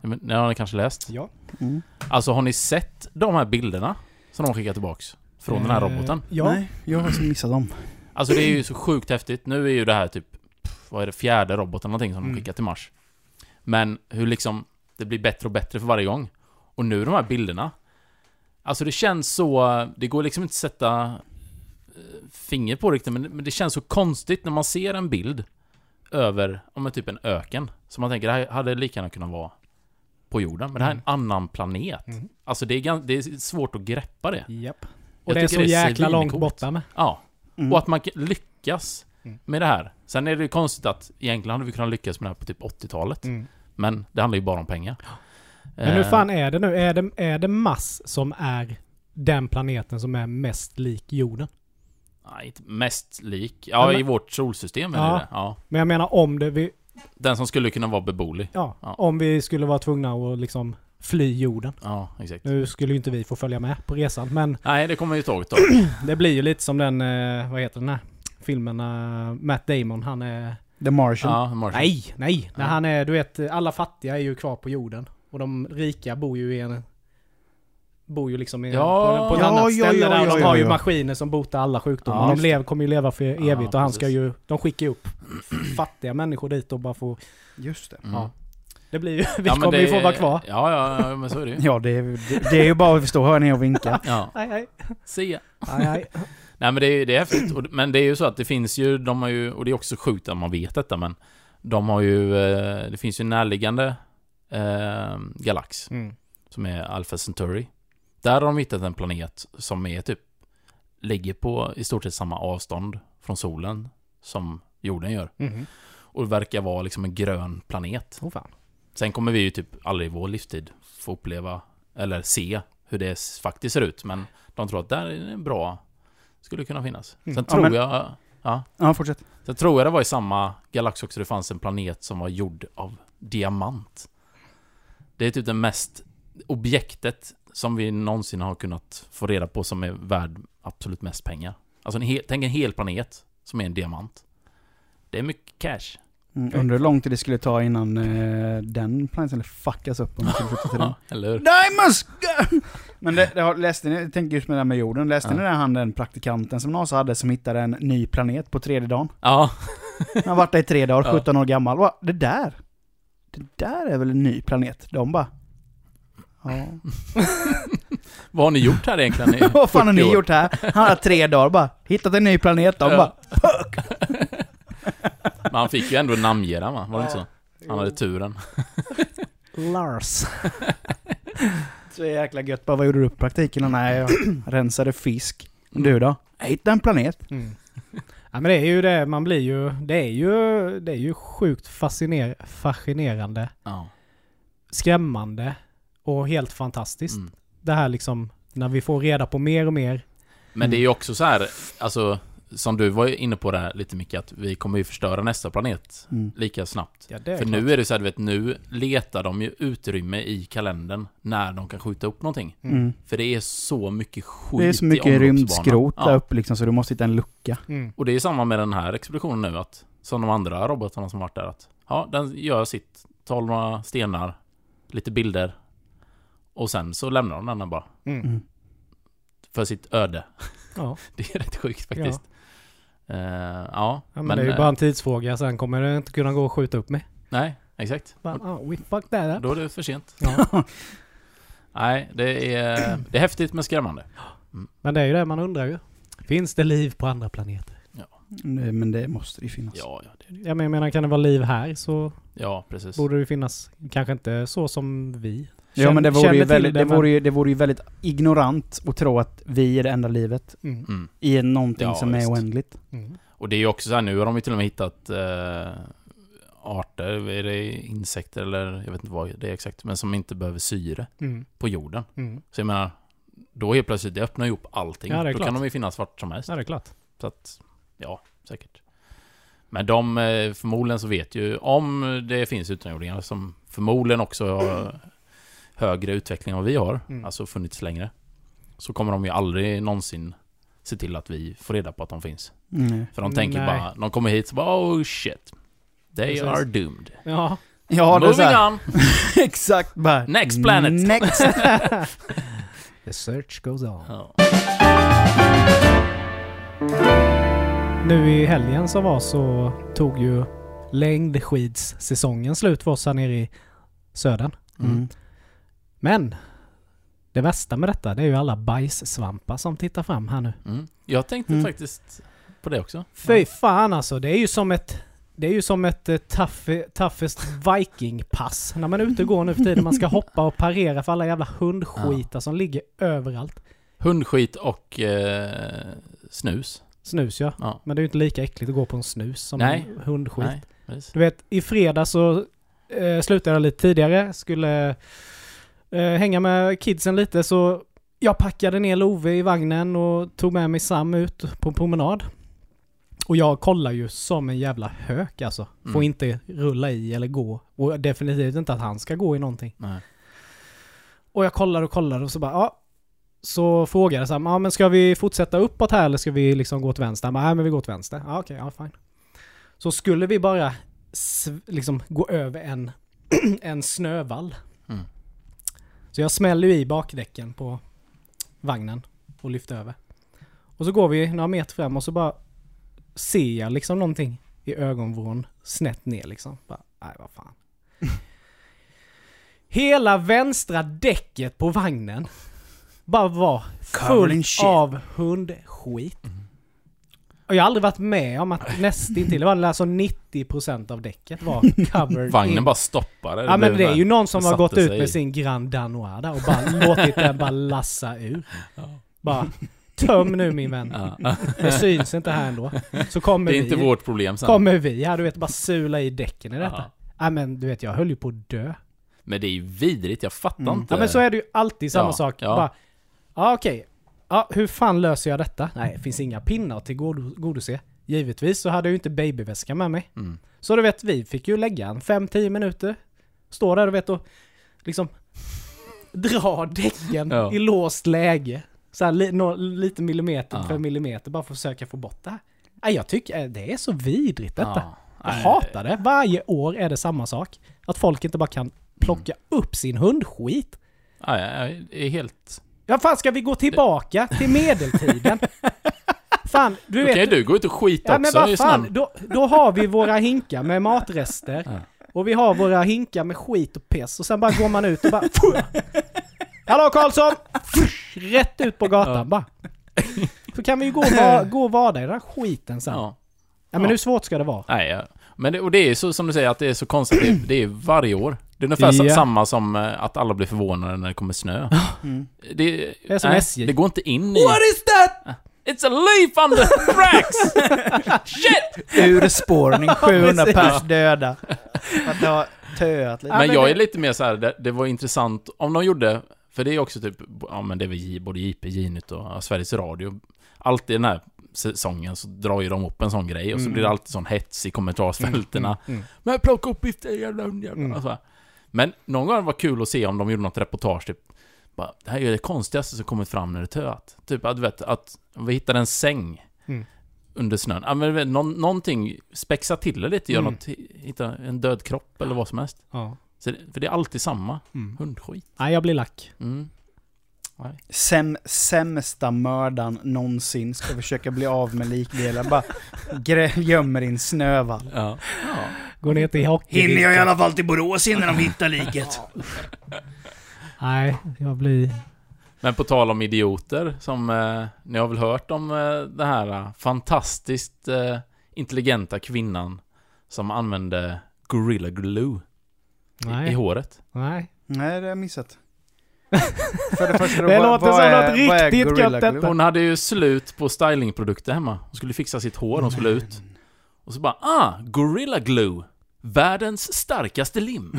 Speaker 1: Ja, men, Det har ni kanske läst?
Speaker 3: Ja.
Speaker 2: Mm.
Speaker 1: Alltså har ni sett de här bilderna som de skickar tillbaks? Från den här
Speaker 3: Eh,
Speaker 1: roboten?
Speaker 3: Ja.
Speaker 2: Nej, jag har missat dem.
Speaker 1: Alltså det är ju så sjukt häftigt. Nu är ju det här typ, pff, vad är det, fjärde roboten någonting som
Speaker 3: Mm.
Speaker 1: de skickar till Mars. Men hur liksom, det blir bättre och bättre för varje gång. Och nu de här bilderna. Alltså det känns så, det går liksom inte att sätta eh, finger på riktigt, men, men det känns så konstigt när man ser en bild över, om typ en öken. Så man tänker, det här hade lika gärna kunnat vara på jorden, men det här är en annan planet.
Speaker 3: Mm.
Speaker 1: Alltså det är, gan- det är svårt att greppa det.
Speaker 3: Japp. Och
Speaker 1: Jag
Speaker 3: det är så
Speaker 1: tycker det är
Speaker 3: jäkla långt
Speaker 1: svincoolt.
Speaker 3: borta med.
Speaker 1: Ja.
Speaker 2: Mm.
Speaker 1: Och att man k- lyckas
Speaker 3: Mm.
Speaker 1: med det här. Sen är det ju konstigt att egentligen hade vi kunnat lyckas med det här på typ 80-talet. Men det handlar ju bara om pengar.
Speaker 3: Mm. Men hur
Speaker 1: Eh,
Speaker 3: fan är det nu? Är det, är det Mars som är den planeten som är mest lik jorden?
Speaker 1: Nej, inte mest lik. Ja,
Speaker 3: Men-
Speaker 1: i vårt solsystem är
Speaker 3: Ja.
Speaker 1: det det ja.
Speaker 3: Men jag menar om det, vi,
Speaker 1: Den som skulle kunna vara beboelig.
Speaker 3: ja,
Speaker 1: Ja.
Speaker 3: om vi skulle vara tvungna att liksom fly jorden.
Speaker 1: Ja, exakt.
Speaker 3: Nu skulle ju inte vi få följa med på resan, men
Speaker 1: Nej, det kommer ju tåget då.
Speaker 3: det blir ju lite som den, eh, vad heter den här filmen, eh, Matt Damon, han är...
Speaker 2: The Martian.
Speaker 1: ja, Martian.
Speaker 3: Nej, nej! När
Speaker 1: Ja.
Speaker 3: han är, du vet, alla fattiga är ju kvar på jorden. Och de rika bor ju i en... Bor ju liksom i,
Speaker 1: Ja.
Speaker 3: på, på ett
Speaker 2: Ja,
Speaker 3: annat
Speaker 2: ja,
Speaker 3: ställe
Speaker 2: ja,
Speaker 3: där och
Speaker 2: ja,
Speaker 3: de
Speaker 2: ja,
Speaker 3: har ju
Speaker 2: ja.
Speaker 3: maskiner som botar alla sjukdomar.
Speaker 1: Ja,
Speaker 3: de
Speaker 1: just
Speaker 3: lev, kommer ju leva för evigt
Speaker 1: Ja,
Speaker 3: och han ska
Speaker 1: precis.
Speaker 3: ju... De skickar ju upp fattiga människor dit och bara få...
Speaker 2: Just det.
Speaker 1: Mm.
Speaker 3: Ja. Det blir ju... Vi
Speaker 1: Ja, men
Speaker 3: kommer
Speaker 1: det-
Speaker 3: ju få vara kvar.
Speaker 1: Ja, ja, ja, men så är det ju.
Speaker 2: Ja, det är, det, det är ju bara att förstå. Hör ni och vinka.
Speaker 1: Ja,
Speaker 3: Aj, aj,
Speaker 1: se ya.
Speaker 3: aj, aj.
Speaker 1: Nej men det är, det är häftigt. Och, men det är ju så att det finns ju, de har ju, och det är också sjukt att man vet detta men De har ju, eh, det finns ju en närliggande eh, galax
Speaker 3: Mm.
Speaker 1: som är Alpha Centauri. Där har de hittat en planet som är typ ligger på i stort sett samma avstånd från solen som jorden gör.
Speaker 3: Mhm.
Speaker 1: Och verkar vara liksom en grön planet.
Speaker 3: Oh, fan.
Speaker 1: Sen kommer vi ju typ aldrig i vår livstid få uppleva eller se hur det s- faktiskt ser ut. Men de tror att där är det bra, skulle kunna finnas. Sen
Speaker 2: Mm. Ja,
Speaker 1: tror
Speaker 2: men-
Speaker 1: jag... Ja,
Speaker 2: Ja, fortsätt.
Speaker 1: sen tror jag det var i samma galax också det fanns en planet som var gjord av diamant. Det är typ det mest objektet som vi någonsin har kunnat få reda på som är värd absolut mest pengar. Alltså en hel, tänk en hel planet som är en diamant. Det är mycket cash.
Speaker 2: Mm, undrar hur lång tid det skulle ta innan eh, den planeten fuckas upp om man skulle flytta till den.
Speaker 1: Ja, eller hur?
Speaker 2: Diamonds! Men det, det har, läste ni, jag tänker just med det här med jorden, läste
Speaker 1: Ja.
Speaker 2: ni den här han den praktikanten som NASA hade som hittade en ny planet på tredje dagen?
Speaker 1: Ja,
Speaker 2: Han har varit där i tre dagar,
Speaker 1: Ja.
Speaker 2: 17 år gammal. Va, det där? Det där är väl en ny planet? De bara... Ja.
Speaker 1: vad har ni gjort här egentligen? i
Speaker 2: Vad fan har
Speaker 1: 40
Speaker 2: ni
Speaker 1: år?
Speaker 2: gjort här? Han har tre dagar bara, hittat en ny planet. De
Speaker 1: Ja.
Speaker 2: bara...
Speaker 1: Men han fick ju ändå namnge den va? Var det inte så? Han hade turen.
Speaker 3: Lars.
Speaker 2: Så jäkla gött. Bara, vad gjorde du på praktiken? Nej, jag rensade fisk. Du då? Jag hittade en planet.
Speaker 3: Mm. Ja men det är ju det, man blir ju... Det är ju, det är ju sjukt fasciner, fascinerande,
Speaker 1: Ja.
Speaker 3: skrämmande och helt fantastiskt.
Speaker 1: Mm.
Speaker 3: Det här liksom, när vi får reda på mer och mer.
Speaker 1: Men det är ju också så här, alltså som du var inne på där lite mycket, att vi kommer ju förstöra nästa planet
Speaker 2: Mm.
Speaker 1: lika snabbt.
Speaker 3: Ja, det är
Speaker 1: För
Speaker 3: klart.
Speaker 1: nu är det så här, du vet, nu letar de ju utrymme i kalendern när de kan skjuta upp någonting.
Speaker 2: Mm.
Speaker 1: För det är så mycket skit
Speaker 2: Det är så
Speaker 1: i
Speaker 2: mycket
Speaker 1: omloppsbanan.
Speaker 2: rymdskrot där
Speaker 1: Ja.
Speaker 2: uppe liksom, så du måste hitta en lucka.
Speaker 3: Mm.
Speaker 1: Och det är samma med den här expeditionen nu, att som de andra robotarna som varit där, att ja, den gör sitt, tar några stenar, lite bilder och sen så lämnar de den här bara.
Speaker 3: Mm.
Speaker 2: Mm.
Speaker 1: För sitt öde.
Speaker 3: Ja.
Speaker 1: Det är rätt sjukt faktiskt. Ja, ja,
Speaker 3: ja, men, det är ju
Speaker 1: eh,
Speaker 3: bara en tidsfråga. Sen kommer det inte kunna gå att skjuta upp mig.
Speaker 1: Nej, exakt.
Speaker 3: Bara, ah, we fucked that up.
Speaker 1: Då är det för sent.
Speaker 3: Ja.
Speaker 1: Nej, det är, det är häftigt men skrämmande.
Speaker 3: Men det är ju det man undrar ju. Finns det liv på andra planeter?
Speaker 2: Nej, Men Mm. det måste det ju finnas.
Speaker 3: Alltså.
Speaker 1: Ja, ja, det,
Speaker 3: Ja, men jag menar, kan det vara liv här så
Speaker 1: ja precis.
Speaker 3: borde det finnas. Kanske inte så som vi.
Speaker 2: Ja men det
Speaker 3: Känner-
Speaker 2: vore, ju
Speaker 3: känner till
Speaker 2: väldigt, det,
Speaker 3: men-
Speaker 2: vore ju, det vore ju väldigt ignorant att tro att vi är det enda livet
Speaker 3: Mm.
Speaker 1: Mm.
Speaker 2: i någonting
Speaker 1: Ja,
Speaker 2: som
Speaker 1: visst.
Speaker 2: är oändligt.
Speaker 3: Mm.
Speaker 1: Och det är ju också så här, nu har de ju till och med hittat eh, arter, är det insekter eller jag vet inte vad det är exakt, men som inte behöver syre
Speaker 3: Mm.
Speaker 1: på jorden.
Speaker 3: Mm.
Speaker 1: Så jag menar, då helt plötsligt, det öppnar ju upp allting.
Speaker 3: Ja, det är
Speaker 1: då
Speaker 3: klart.
Speaker 1: kan de ju finnas vart som helst.
Speaker 3: Ja, det är klart.
Speaker 1: Så att, ja, säkert. Men de, eh, förmodligen så vet ju, om det finns utomjordingar som förmodligen också har högre utveckling än vad vi har,
Speaker 3: Mm.
Speaker 1: alltså funnits längre, så kommer de ju aldrig någonsin se till att vi får reda på att de finns.
Speaker 2: Mm.
Speaker 1: För de tänker
Speaker 3: Nej.
Speaker 1: bara, de kommer hit så bara oh shit. They
Speaker 3: Precis.
Speaker 1: are doomed.
Speaker 3: Ja.
Speaker 2: Ja, det är så
Speaker 1: Moving
Speaker 2: här.
Speaker 1: on!
Speaker 2: Exakt bara.
Speaker 1: Next planet.
Speaker 2: Next.
Speaker 3: The search goes on.
Speaker 1: Ja.
Speaker 3: Nu i helgen som var så tog ju längdskidssäsongen slut för oss här nere i södern.
Speaker 2: Mm.
Speaker 3: Men det värsta med detta det är ju alla bajssvampar som tittar fram här nu.
Speaker 1: Mm. Jag tänkte
Speaker 2: Mm.
Speaker 1: faktiskt på det också.
Speaker 3: Fy fan alltså, det är ju som ett det är ju som ett eh, tough, toughest vikingpass när man är ute och går nu för tiden. Man ska hoppa och parera för alla jävla hundskitar som ligger överallt.
Speaker 1: Hundskit och eh, snus.
Speaker 3: Snus ja.
Speaker 1: Ja.
Speaker 3: Men det är ju inte lika äckligt att gå på en snus som
Speaker 1: Nej.
Speaker 3: en hundskit.
Speaker 1: Nej, precis.
Speaker 3: Du vet, i fredag så eh, slutade jag lite tidigare, skulle eh, hänga med kidsen lite så jag packade ner Love i vagnen och tog med mig Sam ut på en promenad. Och jag kollar ju som en jävla hök alltså. Får
Speaker 1: Mm.
Speaker 3: inte rulla i eller gå. Och definitivt inte att han ska gå i någonting.
Speaker 1: Nej.
Speaker 3: Och jag kollar och kollar och så bara, ja. Så frågade jag så här, ja men ska vi fortsätta uppåt här eller ska vi liksom gå till vänster? Han bara, nej men vi går till vänster. Ja okej, ja fine. Så skulle vi bara sv- liksom gå över en, en snövall.
Speaker 1: Mm.
Speaker 3: Så jag smäller ju i bakdäcken på vagnen och lyfter över. Och så går vi några meter fram och så bara ser jag liksom någonting i ögonvrån snett ner liksom. Bara, nej vad fan. Hela vänstra däcket på vagnen bara var
Speaker 2: Covered in
Speaker 3: fullt
Speaker 2: shit.
Speaker 3: av hundskit. Och jag har aldrig varit med om att nästintill, det var alltså 90% av däcket var covered in
Speaker 1: Vagnen bara stoppade.
Speaker 3: Ja men
Speaker 1: blev
Speaker 3: det är
Speaker 1: där.
Speaker 3: ju någon som
Speaker 1: det
Speaker 3: har gått
Speaker 1: satte
Speaker 3: ut
Speaker 1: sig i.
Speaker 3: med sin Grand Danois där och bara låtit den bara lassa ur. Bara töm nu min vän.
Speaker 1: Ja.
Speaker 3: Det syns inte här ändå. Så kommer
Speaker 1: Det är
Speaker 3: vi,
Speaker 1: inte vårt problem sen.
Speaker 3: kommer vi här du vet bara sula i däcken i detta.
Speaker 1: Ja.
Speaker 3: Ja men du vet jag höll ju på att dö.
Speaker 1: Men det är ju vidrigt, jag fattar
Speaker 2: Mm.
Speaker 1: inte.
Speaker 3: Ja men så är det ju alltid samma
Speaker 1: Ja,
Speaker 3: sak.
Speaker 1: ja.
Speaker 3: Bara, ja okej. Ja hur fan löser jag detta? Nej
Speaker 1: Mm.
Speaker 3: det finns inga pinnar att tillgodose. Givetvis så hade jag ju inte babyväska med mig.
Speaker 1: Mm.
Speaker 3: Så du vet vi fick ju lägga en 5-10 minuter. Stå där du vet och liksom dra däcken
Speaker 1: Ja.
Speaker 3: i låst läge. Så här, li, nå- lite millimeter
Speaker 1: Ja.
Speaker 3: för millimeter bara för att försöka få bort det här. Ja, jag tycker eh, det är så vidrigt detta.
Speaker 1: Ja.
Speaker 3: Jag
Speaker 1: Nej,
Speaker 3: hatar det. Varje år är det samma sak. Att folk inte bara kan plocka upp sin hundskit.
Speaker 1: Nej, nej, det är helt...
Speaker 3: Ja fan ska vi gå tillbaka till medeltiden? fan, du
Speaker 1: Då kan ju
Speaker 3: vet...
Speaker 1: du gå ut och skita
Speaker 3: Ja men
Speaker 1: också i
Speaker 3: vad fan,
Speaker 1: snön.
Speaker 3: då, då har vi våra hinkar med matrester.
Speaker 1: Ja.
Speaker 3: Och vi har våra hinkar med skit och piss och sen bara går man ut och bara... Hallå Karlsson! Rätt ut på gatan
Speaker 1: Ja.
Speaker 3: bara. Så kan vi ju gå och, va- gå och vada i den här skiten sen. Ja,
Speaker 1: Ja.
Speaker 3: men
Speaker 1: ja.
Speaker 3: hur svårt ska det vara?
Speaker 1: Nej, ja. men det, och det är ju så som du säger att det är så konstigt. Det- Det är varje år. Det är ungefär sa-
Speaker 3: Ja.
Speaker 1: samma som eh, att alla blir förvånade när det kommer snö. Det,
Speaker 3: är som
Speaker 1: nej,
Speaker 3: SJ.
Speaker 1: det går inte in i...
Speaker 2: is that?
Speaker 1: It's a leaf on the tracks!
Speaker 2: Ur spårning, 700
Speaker 3: precis.
Speaker 2: pers döda. För att det har töat lite.
Speaker 1: men
Speaker 3: men
Speaker 1: jag
Speaker 3: det-
Speaker 1: är lite mer så här, det, det var intressant om de gjorde, för det är också typ, ja men det är väl J- både JP, Jnytt och ja, Sveriges Radio, alltid den här säsongen så drar ju de upp en sån grej och så
Speaker 3: Mm.
Speaker 1: blir det alltid sån hets i kommentarsfältena.
Speaker 3: Mm, mm.
Speaker 1: Men plocka upp biffen, jävla hund, jävla.
Speaker 3: Mm.
Speaker 1: Och så här. Men någon gång var det kul att se om de gjorde något reportage typ. Bara, det här är ju det konstigaste som kommit fram när det töat. Typ att, du vet, att vi hittade en säng
Speaker 3: Mm.
Speaker 1: under snön. Ja, men, du vet, någon, någonting, spexa till det lite, gör
Speaker 3: Mm.
Speaker 1: något, hitta en död kropp eller vad som helst.
Speaker 3: Ja.
Speaker 1: Så det, för det är alltid samma hundskit.
Speaker 3: Nej, jag blir lack.
Speaker 1: Mm.
Speaker 2: Säm, sämsta mördaren någonsin ska försöka bli av med likdelar. Bara grä, gömmer i en snövall.
Speaker 1: Ja. ja.
Speaker 3: Gå ner till hockey.
Speaker 2: alla fall till Borås innan de hittar liket.
Speaker 3: Nej, jag blir...
Speaker 1: Men på tal om idioter, som eh, ni har väl hört om eh, den här eh, fantastiskt eh, intelligenta kvinnan som använde Gorilla Glue i, i
Speaker 3: Nej.
Speaker 1: håret.
Speaker 3: Nej.
Speaker 2: Nej, det har jag missat. För det första,
Speaker 3: Det
Speaker 2: vad-
Speaker 3: låter
Speaker 2: vad
Speaker 3: som
Speaker 2: är-
Speaker 3: något
Speaker 2: vad är
Speaker 3: riktigt
Speaker 2: Gorilla
Speaker 3: gött detta.
Speaker 2: Glue?
Speaker 1: Hon hade ju slut på stylingprodukter hemma. Hon skulle fixa sitt hår, hon skulle ut. Och så bara, ah, Gorilla Glue. Världens starkaste lim.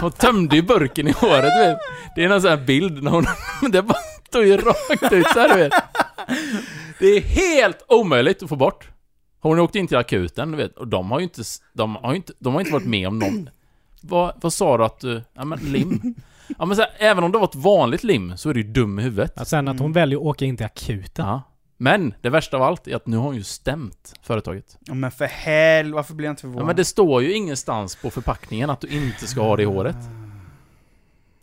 Speaker 1: Hon tömde ju burken i håret, du vet. Det är någon sån här bild när hon... Det bara tog ju rakt ut så här, du vet. Det är helt omöjligt att få bort. Hon åkte in till akuten, du vet. Och de har ju inte... De har ju inte, de har inte varit med om någon... Vad, vad sa du att du... Ja men lim. Ja men så här, även om det var ett vanligt lim så är du ju dum i huvudet.
Speaker 3: Ja, sen att
Speaker 1: Mm.
Speaker 3: hon väljer att åka in till akuten.
Speaker 1: Ja. Men det värsta av allt är att nu har hon ju stämt företaget.
Speaker 2: Ja, men för hel, varför blir jag inte
Speaker 1: Ja,
Speaker 2: förvånad?
Speaker 1: men det står ju ingenstans på förpackningen att du inte ska ha det i håret.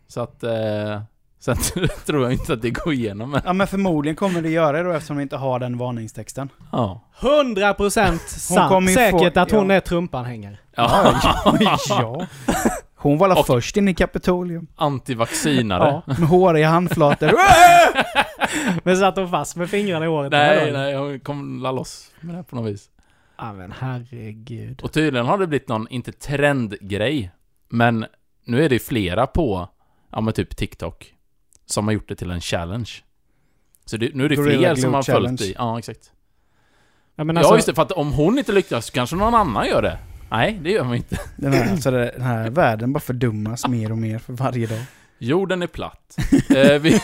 Speaker 1: Så att... Eh, sen tror jag inte att det går igenom men...
Speaker 2: Ja, men förmodligen kommer det göra det då eftersom vi inte har den varningstexten.
Speaker 1: Ja.
Speaker 3: 100% sant.
Speaker 2: kommer ju få-
Speaker 3: Säkert att hon
Speaker 2: ja.
Speaker 3: är trumpanhängare.
Speaker 1: ja.
Speaker 2: ja. Hon var alla
Speaker 1: Och-
Speaker 2: först in i Kapitolium.
Speaker 1: Antivaccinare.
Speaker 3: Ja.
Speaker 2: Med håriga handflator.
Speaker 3: Men satt hon fast med fingrarna i håret? den här
Speaker 1: Nej,
Speaker 3: dagen?
Speaker 1: nej, hon kom la loss med det här på något vis.
Speaker 3: Ja men herregud.
Speaker 1: Och tydligen har det blivit någon, inte trendgrej, men nu är det ju flera på, ja men typ TikTok, som har gjort det till en challenge. Så det, nu är det
Speaker 2: Gorilla
Speaker 1: fler
Speaker 2: Glue
Speaker 1: som har följt
Speaker 2: Challenge.
Speaker 1: i. Ja, exakt.
Speaker 3: Ja, men alltså,
Speaker 1: ja, just det, för att om hon inte lyckas så kanske någon annan gör det. Nej, det gör man inte.
Speaker 2: Den här, alltså, den här världen bara fördummas mer och mer för varje dag.
Speaker 1: Jorden är platt. eh, vi,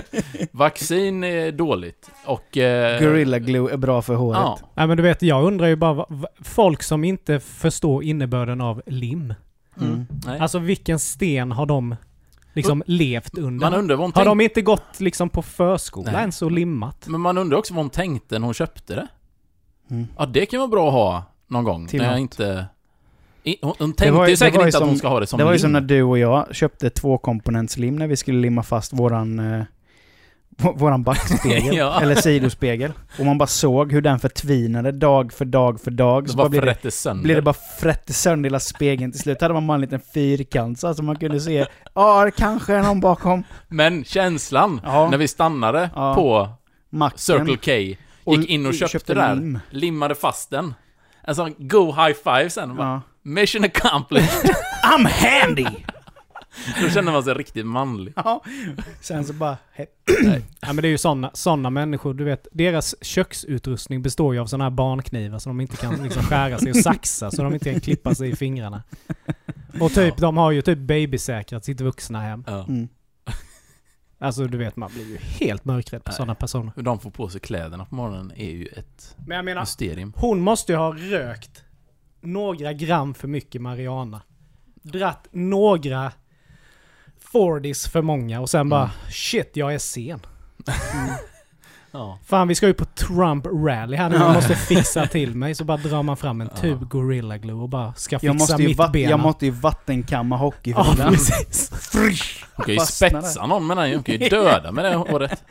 Speaker 1: vaccin är dåligt. Och... Eh,
Speaker 2: Gorilla glue är bra för håret.
Speaker 1: Ja.
Speaker 3: Nej men du vet, jag undrar ju bara vad- vad- folk som inte förstår innebörden av lim.
Speaker 2: Mm.
Speaker 1: Nej.
Speaker 3: Alltså vilken sten har de liksom levt under?
Speaker 1: man undrar vad hon
Speaker 3: har
Speaker 1: tänkte.
Speaker 3: de inte gått liksom på förskola
Speaker 1: Nej.
Speaker 3: ens och limmat?
Speaker 1: Men man undrar också vad hon tänkte när hon köpte det.
Speaker 2: Mm.
Speaker 1: Ja, det kan vara bra att ha någon gång.
Speaker 2: Till
Speaker 1: när jag
Speaker 2: något.
Speaker 1: inte... I, hon, hon tänkte
Speaker 2: var ju-
Speaker 1: ju
Speaker 2: det var
Speaker 1: säkert
Speaker 2: ju
Speaker 1: inte att
Speaker 2: som-
Speaker 1: hon ska ha det som
Speaker 2: det var ju
Speaker 1: lim.
Speaker 2: som när du och jag köpte tvåkomponentslim när vi skulle limma fast våran... Eh, vå- våran backspegel,
Speaker 1: Ja.
Speaker 2: eller sidospegel. Och man bara såg hur den förtvinade dag för dag för dag.
Speaker 1: Det
Speaker 2: Så
Speaker 1: bara
Speaker 2: bara blev det,
Speaker 1: frätte sönder.
Speaker 2: blev det bara frätte sönder hela spegeln. Till slut hade man bara en liten fyrkant så alltså man kunde se, ja det kanske är någon bakom
Speaker 1: Men känslan
Speaker 2: Ja.
Speaker 1: när vi stannade
Speaker 2: Ja.
Speaker 1: på
Speaker 2: macken.
Speaker 1: Circle K, gick
Speaker 2: Och
Speaker 1: in och köpte, där,
Speaker 2: lim.
Speaker 1: limmade fast den. En sån go high five sen. Bara,
Speaker 2: Ja.
Speaker 1: Mission accomplished.
Speaker 2: I'm handy!
Speaker 1: Då känner man sig riktigt manlig.
Speaker 2: ja. Sen så bara, he-
Speaker 3: Ja men det är ju sådana såna människor, du vet. Deras köksutrustning består ju av sådana här barnknivar som de inte kan liksom skära sig och saxa så de inte kan klippa sig i fingrarna. Och typ, de har ju typ babysäkrat sitt vuxna hem.
Speaker 1: Ja.
Speaker 2: mm.
Speaker 3: Alltså du vet, man blir ju helt mörkrädd på
Speaker 1: Nej.
Speaker 3: sådana personer.
Speaker 1: Hur de får på sig kläderna på morgonen är ju ett
Speaker 3: Men jag menar,
Speaker 1: mysterium.
Speaker 3: Hon måste ju ha rökt några gram för mycket marijuana. Dratt några 40s för många och sen bara shit jag är sen.
Speaker 1: Ja.
Speaker 3: Fan vi ska ju på Trump rally här nu, jag måste fixa till mig. Så bara drar man fram en tub Gorilla Glue och bara ska fixa
Speaker 2: jag, måste ju
Speaker 3: mitt
Speaker 2: vatt-
Speaker 3: ben.
Speaker 2: jag måste ju vattenkamma
Speaker 3: ja,
Speaker 2: hockeyhyllan.
Speaker 3: precis.
Speaker 1: Hon kan ju
Speaker 2: Fastnade.
Speaker 1: spetsa någon med den, hon kan ju döda med det håret.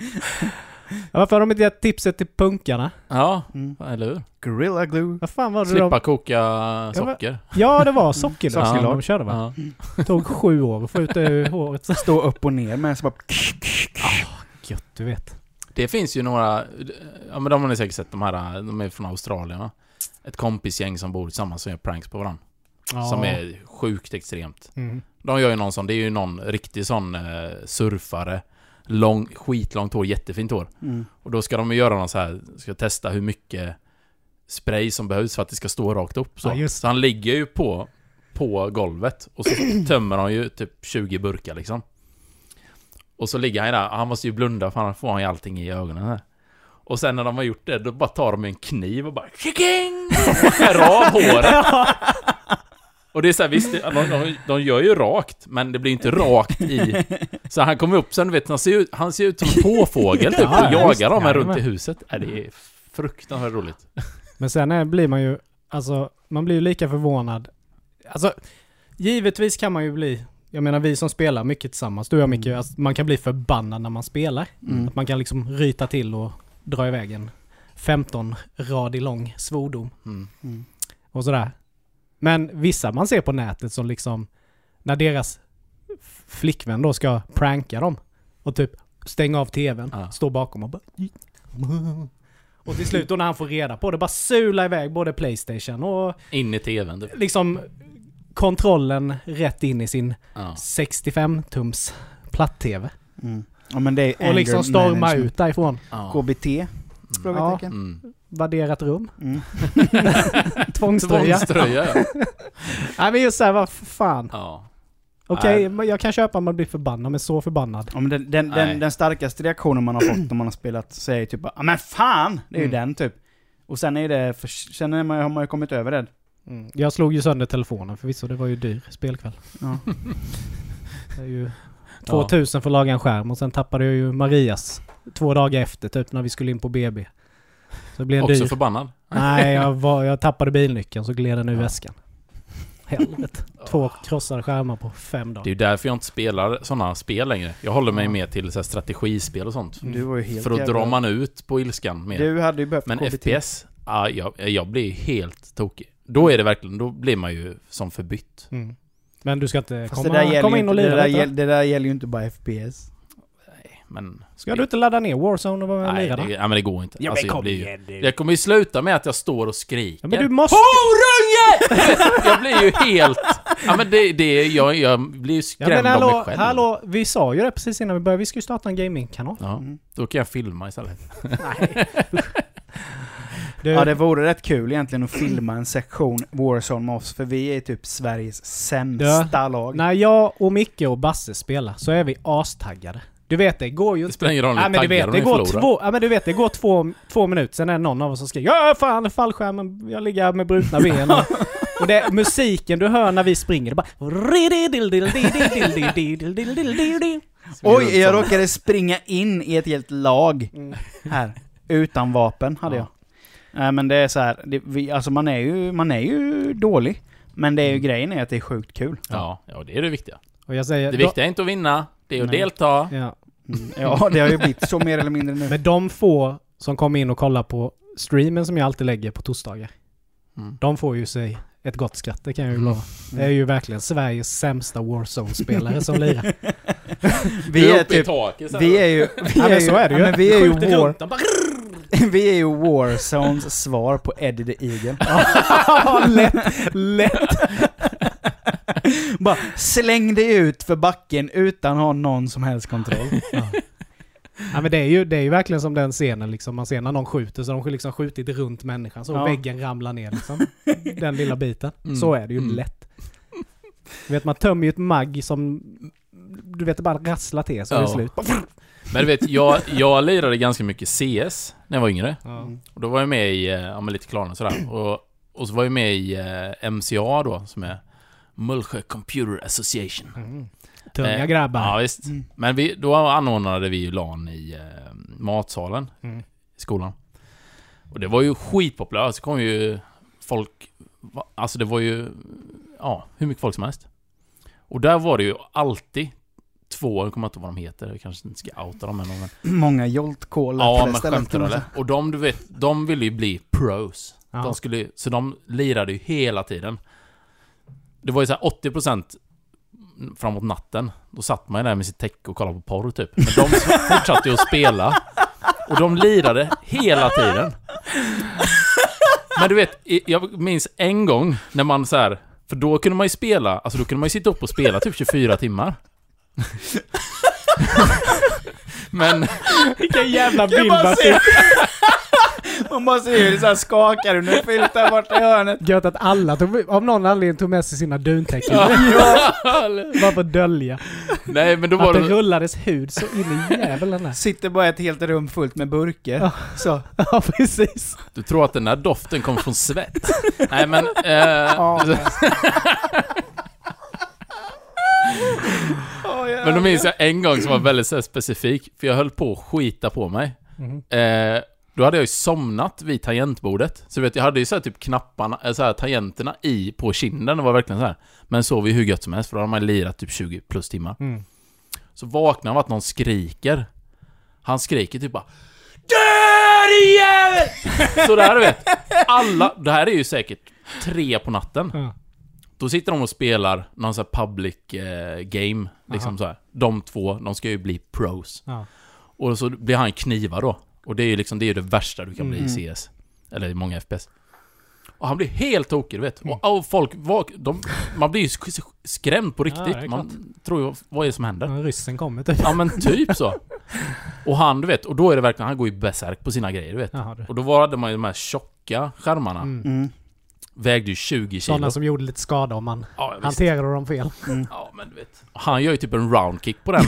Speaker 3: Ja, Varför har de inte gett tipset till punkarna?
Speaker 1: Ja,
Speaker 2: Mm.
Speaker 1: eller hur?
Speaker 2: Gorilla glue.
Speaker 3: Vad fan var det
Speaker 1: Slippa
Speaker 3: de...
Speaker 1: koka socker.
Speaker 3: Ja det var sockerlag
Speaker 1: Sockerlag.
Speaker 3: de körde va?
Speaker 1: Ja.
Speaker 3: Tog sju år att få ut det ur håret. Så
Speaker 2: Stå upp och ner men så bara...
Speaker 3: gött du vet.
Speaker 1: Det finns ju några, ja men de har ni säkert sett de här, de är från Australien va? Ett kompisgäng som bor tillsammans som gör pranks på varandra.
Speaker 3: Ja.
Speaker 1: Som är sjukt extremt.
Speaker 3: Mm.
Speaker 1: De gör ju någon sån, det är ju någon riktig sån eh, surfare. Lång, skitlångt hår, jättefint hår.
Speaker 2: Mm.
Speaker 1: Och då ska de ju göra någon så här, ska testa hur mycket spray som behövs för att det ska stå rakt upp. Så,
Speaker 3: Ja, just det.
Speaker 1: så han ligger ju på, på golvet och så tömmer han ju typ 20 burkar liksom. Och så ligger han ju där, han måste ju blunda för annars får han ju allting i ögonen här. Och sen när de har gjort det, då bara tar de en kniv och bara Tjiking! Och skär av håret. Och det är såhär, visst, de, de, de gör ju rakt, men det blir inte rakt i... Så han kommer upp sen, du vet, han ser ut, han ser ut som en påfågel typ,
Speaker 3: Ja,
Speaker 1: och
Speaker 3: ja, visst.
Speaker 1: jagar dem här runt i
Speaker 3: Jajamän.
Speaker 1: huset. Äh, det är fruktansvärt roligt.
Speaker 3: Men sen är, blir man ju, alltså, man blir ju lika förvånad. Alltså, givetvis kan man ju bli, jag menar vi som spelar mycket tillsammans, du och jag Micke,
Speaker 1: Mm.
Speaker 3: alltså, man kan bli förbannad när man spelar.
Speaker 2: Mm.
Speaker 3: Att man kan liksom ryta till och dra iväg en 15 radig lång svordom
Speaker 1: Mm.
Speaker 2: Mm.
Speaker 3: och sådär. Men vissa man ser på nätet som liksom, när deras f- flickvän då ska pranka dem och typ stänga av tvn,
Speaker 1: Ja.
Speaker 3: stå bakom och bara... Och till slut då när han får reda på det, bara sula iväg både Playstation och
Speaker 1: In i TVn typ.
Speaker 3: liksom kontrollen rätt in i sin
Speaker 1: Ja.
Speaker 3: 65-tums platt-tv.
Speaker 2: Mm. Ja men det är
Speaker 3: Och liksom
Speaker 2: anger
Speaker 3: storma
Speaker 2: management.
Speaker 3: ut därifrån.
Speaker 1: ja.
Speaker 2: KBT? Frågetecken.
Speaker 1: Mm.
Speaker 3: Värderat rum.
Speaker 2: Mm.
Speaker 3: Tvångströja.
Speaker 1: Tvångströja, ja.
Speaker 3: Nej men just såhär, vad fan.
Speaker 1: ja.
Speaker 3: Okej,
Speaker 1: Nej.
Speaker 3: men jag kan köpa om man blir förbannad, men så förbannad.
Speaker 2: Ja, men den, den,
Speaker 1: Nej.
Speaker 2: den, den starkaste reaktionen man har fått när man har spelat så är ju typ bara, "Ah, men fan! Det är ju
Speaker 3: Mm.
Speaker 2: den typ. Och sen är det, för, sen är man, har man ju kommit över det.
Speaker 3: Jag slog ju sönder telefonen förvisso, det var ju dyr spelkväll.
Speaker 2: Ja.
Speaker 3: Det är ju 2000 för att laga en skärm och sen tappade jag ju Marias två dagar efter typ när vi skulle in på BB. Så det blev en
Speaker 1: Också
Speaker 3: dyr...
Speaker 1: förbannad.
Speaker 3: Nej, jag, var, jag tappade bilnyckeln så gled den ur
Speaker 1: Ja.
Speaker 3: väskan. Helvete. Två krossade skärmar på fem
Speaker 1: Det är
Speaker 3: dagar.
Speaker 1: ju därför jag inte spelar sådana spel längre. Jag håller mig mer till så här strategispel och sånt.
Speaker 3: Mm.
Speaker 2: Du var ju helt
Speaker 1: För då
Speaker 2: jävla-
Speaker 1: drar man ut på ilskan mer.
Speaker 2: Du hade ju behövt
Speaker 1: Men
Speaker 2: KBT.
Speaker 1: FPS, ja, jag, jag blir helt tokig. Då är det verkligen, då blir man ju som förbytt.
Speaker 3: Mm. Men du ska inte
Speaker 2: Fast Alltså, det där
Speaker 3: komma,
Speaker 2: gäller
Speaker 3: komma
Speaker 2: ju
Speaker 3: in och
Speaker 2: inte- det
Speaker 3: lira
Speaker 2: där
Speaker 3: lite? va?
Speaker 2: gäll- Det där gäller ju inte bara FPS.
Speaker 1: Men...
Speaker 3: Ska du inte ladda ner Warzone och vara med och
Speaker 1: Nej,
Speaker 3: lira
Speaker 1: det,
Speaker 3: då?
Speaker 1: nej men det går inte.
Speaker 2: Ja, men
Speaker 1: Alltså, jag,
Speaker 2: kom
Speaker 1: blir ju, jag kommer ju sluta med att jag står och skriker.
Speaker 3: Ja, men du måste...
Speaker 1: Horunge! jag blir ju helt... Ja men det, det jag, jag blir ju
Speaker 3: Ja,
Speaker 1: skrämd
Speaker 3: men
Speaker 1: av
Speaker 3: hallå,
Speaker 1: mig själv.
Speaker 3: hallå, vi sa ju det precis innan vi började. Vi ska ju starta en gamingkanal.
Speaker 1: Ja,
Speaker 2: Mm.
Speaker 1: då kan jag filma istället.
Speaker 3: Du,
Speaker 2: Ja, det vore rätt kul egentligen att filma en sektion Warzone med oss, för vi är typ Sveriges sämsta lag.
Speaker 3: När jag och Micke och Basse spelar så är vi astaggade. Du vet, det går ju
Speaker 1: Det
Speaker 3: inte...
Speaker 1: spelar ingen roll
Speaker 3: Ja,
Speaker 1: hur
Speaker 3: men du
Speaker 1: taggad
Speaker 3: vet,
Speaker 1: de
Speaker 3: det
Speaker 1: är
Speaker 3: går
Speaker 1: förlorar.
Speaker 3: två, ja, men du vet, det går två, två minuter, sen är det någon av oss som skriker Ja fan, fallskärmen, jag ligger med brutna ben. Och, och det, musiken du hör när vi springer, det bara...
Speaker 2: Oj, jag råkade springa in i ett helt lag
Speaker 3: Mm.
Speaker 2: här. Utan vapen hade
Speaker 1: Ja.
Speaker 2: jag. Nej men det är så här, det, vi, alltså man är, ju, man är ju dålig. Men det är ju grejen är att det är sjukt kul.
Speaker 1: Ja, ja, det är det viktiga.
Speaker 3: Och jag säger...
Speaker 1: Det
Speaker 3: "Då-
Speaker 1: viktiga är inte att vinna, det är att
Speaker 2: Nej.
Speaker 1: delta.
Speaker 3: Ja.
Speaker 2: Mm. Ja, det har ju blivit så mer eller mindre nu.
Speaker 3: Men de få som kommer in och kollar på streamen som jag alltid lägger på torsdagar,
Speaker 1: Mm.
Speaker 3: de får ju sig ett gott skratt, det kan jag ju
Speaker 1: Mm.
Speaker 3: lova. Det är ju verkligen Sveriges sämsta Warzone-spelare som lirar.
Speaker 2: Vi
Speaker 1: Du
Speaker 2: är
Speaker 1: uppe i
Speaker 2: typ,
Speaker 1: taket så här.
Speaker 2: vi är ju... Vi
Speaker 3: Ja,
Speaker 2: är
Speaker 3: men
Speaker 2: ju,
Speaker 3: så är det ju.
Speaker 2: ja, men vi är ju
Speaker 3: Skjuter
Speaker 2: war,
Speaker 3: runt dem, bara-
Speaker 2: vi är ju Warzones svar på Eddie the Eagle.
Speaker 3: lätt, lätt.
Speaker 2: Bara släng dig ut för backen utan att ha någon som helst kontroll.
Speaker 3: Ja, men det, är ju, det är ju verkligen som den scenen liksom. Man ser när någon skjuter så har de liksom skjutit runt människan så
Speaker 2: Ja.
Speaker 3: väggen ramlar ner liksom. Den lilla biten.
Speaker 1: Mm.
Speaker 3: Så är det ju
Speaker 1: Mm.
Speaker 3: lätt. Du vet man tömmer ju ett magg som du vet det bara rasslar till så är det
Speaker 1: Ja.
Speaker 3: slut.
Speaker 1: Men du vet, jag, jag lirade ganska mycket CS när jag var yngre.
Speaker 3: Ja.
Speaker 1: Och då var jag med i, eh, ja men lite klaner sådär. Och, och så var jag med i eh, MCA då, som är Mullsjö Computer Association.
Speaker 3: Mm. Tunga
Speaker 1: Eh,
Speaker 3: grabbar.
Speaker 1: Ja, visst.
Speaker 2: Mm.
Speaker 1: Men vi, då anordnade vi ju LAN i eh, matsalen
Speaker 3: Mm.
Speaker 1: i skolan. Och det var ju skitpopulärt. Så kom ju folk... va- Alltså det var ju... Ja, hur mycket folk som helst. Och där var det ju alltid två, jag kommer inte ihåg vad de heter, jag kanske inte ska outa dem än. Men,
Speaker 2: Många jolt
Speaker 1: ja, men skämtar du eller? Och de, du vet, de ville ju bli pros.
Speaker 3: Ja.
Speaker 1: De skulle, ju- så de lirade ju hela tiden. Det var ju såhär 80% framåt natten. Då satt man ju där med sitt täcke och kollade på porr typ. Men de fortsatte ju att spela. Och de lirade hela tiden. Men du vet, i- jag minns en gång när man så här. För då kunde man ju spela, alltså då kunde man ju sitta upp och spela typ 24 timmar. Men...
Speaker 3: Vilken jävla bild
Speaker 2: bara
Speaker 3: man
Speaker 2: se-
Speaker 3: ser.
Speaker 2: Man man ser hur det så här skakar under filten borta i hörnet.
Speaker 3: Gött att alla tog, av någon anledning tog med sig sina duntäcken. Bara för att dölja.
Speaker 1: Nej men då
Speaker 3: Att
Speaker 1: var
Speaker 3: det
Speaker 1: det...
Speaker 3: rullades hud så in i djävulen där.
Speaker 2: Sitter bara ett helt rum fullt med burkar. Så.
Speaker 3: Ja, precis.
Speaker 1: Du tror att den där doften kom från svett? Nej men... Eh,
Speaker 2: Åh, jävlar.
Speaker 1: men då minns jag en gång som var väldigt så här specifik, för jag höll på att skita på mig.
Speaker 3: Mhm.
Speaker 1: Eh, då hade jag ju somnat vid tangentbordet. Så du vet, jag hade ju så här typ knapparna, eh, så här tangenterna i på kinden. Det var verkligen så här. Men sov ju hur gött som helst, för då hade man lirat typ 20 plus timmar.
Speaker 3: Mm.
Speaker 1: Så vaknar man av att någon skriker. Han skriker typ bara DÖD JÄVEL! Sådär du vet. Alla, det här är ju säkert tre på natten.
Speaker 3: Ja.
Speaker 1: Då sitter de och spelar någon sån här public eh, game. Liksom så här. De två, de ska ju bli pros.
Speaker 3: Ja.
Speaker 1: Och så blir han knivad då. Och det är ju liksom, det är ju det värsta du kan
Speaker 3: Mm.
Speaker 1: bli i CS. Eller i många FPS. Och han blir helt tokig, du vet.
Speaker 3: Mm.
Speaker 1: Och, och folk, vak, de, man blir ju sk- skrämd på
Speaker 3: det är
Speaker 1: riktigt.
Speaker 3: klart.
Speaker 1: man tror ju, vad är det som händer?
Speaker 3: Ja, Ryssen kommer typ.
Speaker 1: Ja men typ så. Och han du vet, och då är det verkligen, han går ju besärk på sina grejer du vet.
Speaker 3: Jaha, du.
Speaker 1: Och då var- hade man ju de här tjocka skärmarna.
Speaker 2: Mm.
Speaker 1: Vägde ju 20 kilo.
Speaker 3: Sådana som gjorde lite skada om man
Speaker 1: Ja, visst.
Speaker 3: hanterade dem fel.
Speaker 1: ja men du vet. Han gör ju typ en roundkick på den.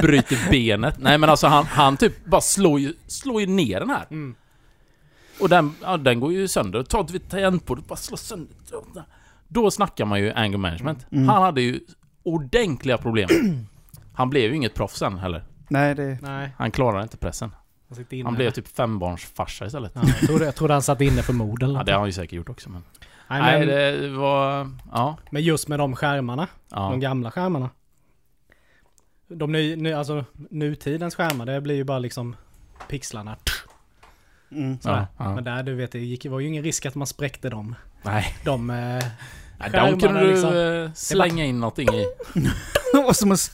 Speaker 1: Bryter benet. Nej men alltså han, han typ bara slår ju, slår ju ner den här.
Speaker 3: Mm.
Speaker 1: Och den, ja, den går ju sönder. Tar ett vid tangentbordet bara slår sönder. Då snackar man ju anger management.
Speaker 3: Mm.
Speaker 1: Han hade ju ordentliga problem. Han blev ju inget proffs sen heller.
Speaker 2: Nej, det...
Speaker 3: Nej,
Speaker 1: Han klarade inte pressen.
Speaker 3: han sitter inne.
Speaker 1: Han blev typ fembarnsfarsa istället.
Speaker 3: Ja, jag, trodde, jag trodde han satt inne för mord eller
Speaker 1: Ja,
Speaker 3: något.
Speaker 1: det har han ju säkert gjort också men...
Speaker 3: Nej, men,
Speaker 1: Nej, det var... Ja.
Speaker 3: men just med de skärmarna.
Speaker 1: ja.
Speaker 3: De gamla skärmarna. De ny, ny, alltså, nutidens skärmar, det blir ju bara liksom pixlarna.
Speaker 2: Mm.
Speaker 3: Sådär.
Speaker 1: Ja, ja.
Speaker 3: Men där, du vet, det gick, var ju ingen risk att man spräckte dem.
Speaker 1: Nej.
Speaker 3: De... Eh,
Speaker 1: Nej,
Speaker 3: Skärmarna
Speaker 1: de kunde du
Speaker 3: liksom.
Speaker 1: eh, slänga in någonting i.
Speaker 2: Det var som att s-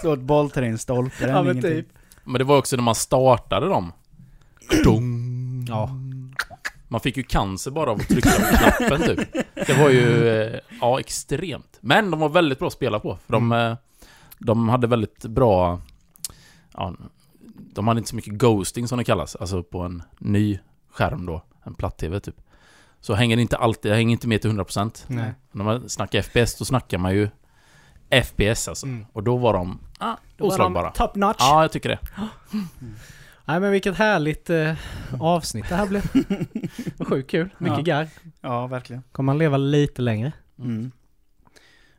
Speaker 2: slå ett bollträ i en stolpe. Det
Speaker 3: ja,
Speaker 2: hände
Speaker 3: men
Speaker 2: ingenting.
Speaker 3: typ.
Speaker 1: Men det var också när man startade dem. Dong.
Speaker 3: Ja.
Speaker 1: Man fick ju cancer bara av att trycka på knappen typ. Det var ju... eh, Ja, extremt. Men de var väldigt bra att spela på. För de,
Speaker 3: Mm.
Speaker 1: eh, de hade väldigt bra... Ja, de hade inte så mycket ghosting som det kallas. Alltså på en ny skärm då. En platt-tv typ. Så hänger det inte alltid, hänger inte med till 100%.
Speaker 3: Nej.
Speaker 1: När man snackar FPS, då snackar man ju FPS alltså.
Speaker 3: Mm.
Speaker 1: Och då var de ah,
Speaker 3: Då var
Speaker 1: oslagbara.
Speaker 3: de top notch.
Speaker 1: Ja, jag tycker det.
Speaker 3: Nej men vilket härligt eh, avsnitt det här blev. Vad Sjukt kul. Mycket
Speaker 2: Ja.
Speaker 3: garv.
Speaker 2: Ja, verkligen.
Speaker 3: Kommer man leva lite längre?
Speaker 2: Mm.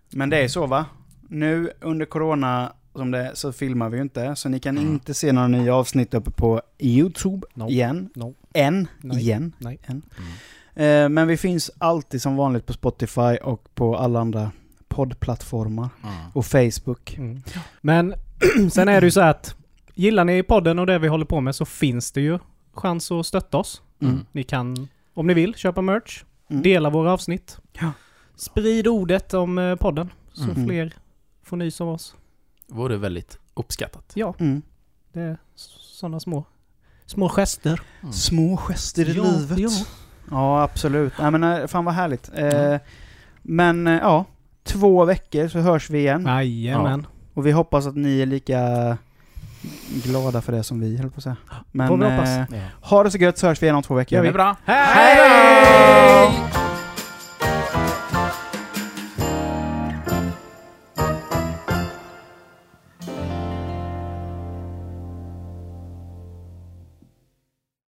Speaker 2: Men det är så va? Nu under corona som det är, så filmar vi ju inte, så ni kan
Speaker 1: Mm.
Speaker 2: inte se några nya avsnitt uppe på YouTube
Speaker 3: No.
Speaker 2: igen.
Speaker 3: No.
Speaker 2: Än.
Speaker 3: Nej.
Speaker 2: Igen.
Speaker 3: Nej. Mm.
Speaker 2: Än. Eh, men vi finns alltid som vanligt på Spotify och på alla andra poddplattformar.
Speaker 1: Mm.
Speaker 2: Och Facebook.
Speaker 3: Mm. Men sen är det ju så att gillar ni podden och det vi håller på med så finns det ju chans att stötta oss.
Speaker 1: Mm.
Speaker 3: Ni kan, om ni vill, köpa merch,
Speaker 2: Mm.
Speaker 3: dela våra avsnitt.
Speaker 2: Ja.
Speaker 3: Sprid ordet om eh, podden så
Speaker 1: Mm.
Speaker 3: fler får nys om oss.
Speaker 1: Det vore väldigt uppskattat.
Speaker 3: Ja,
Speaker 2: Mm.
Speaker 3: det är sådana små, små gester.
Speaker 1: Mm.
Speaker 2: Små gester i
Speaker 3: Ja,
Speaker 2: livet.
Speaker 3: ja.
Speaker 2: Ja, absolut. Nej, men, eh, fan vad härligt. Eh, Men eh, ja, två veckor så hörs vi igen.
Speaker 3: Jajamän.
Speaker 2: Och vi hoppas att ni är lika glada för det som vi, höll på att säga. Men
Speaker 3: Får vi hoppas.
Speaker 2: eh, ha det så gött så hörs vi igen om två veckor.
Speaker 3: Gör vi.
Speaker 1: Det är bra.
Speaker 3: Hej!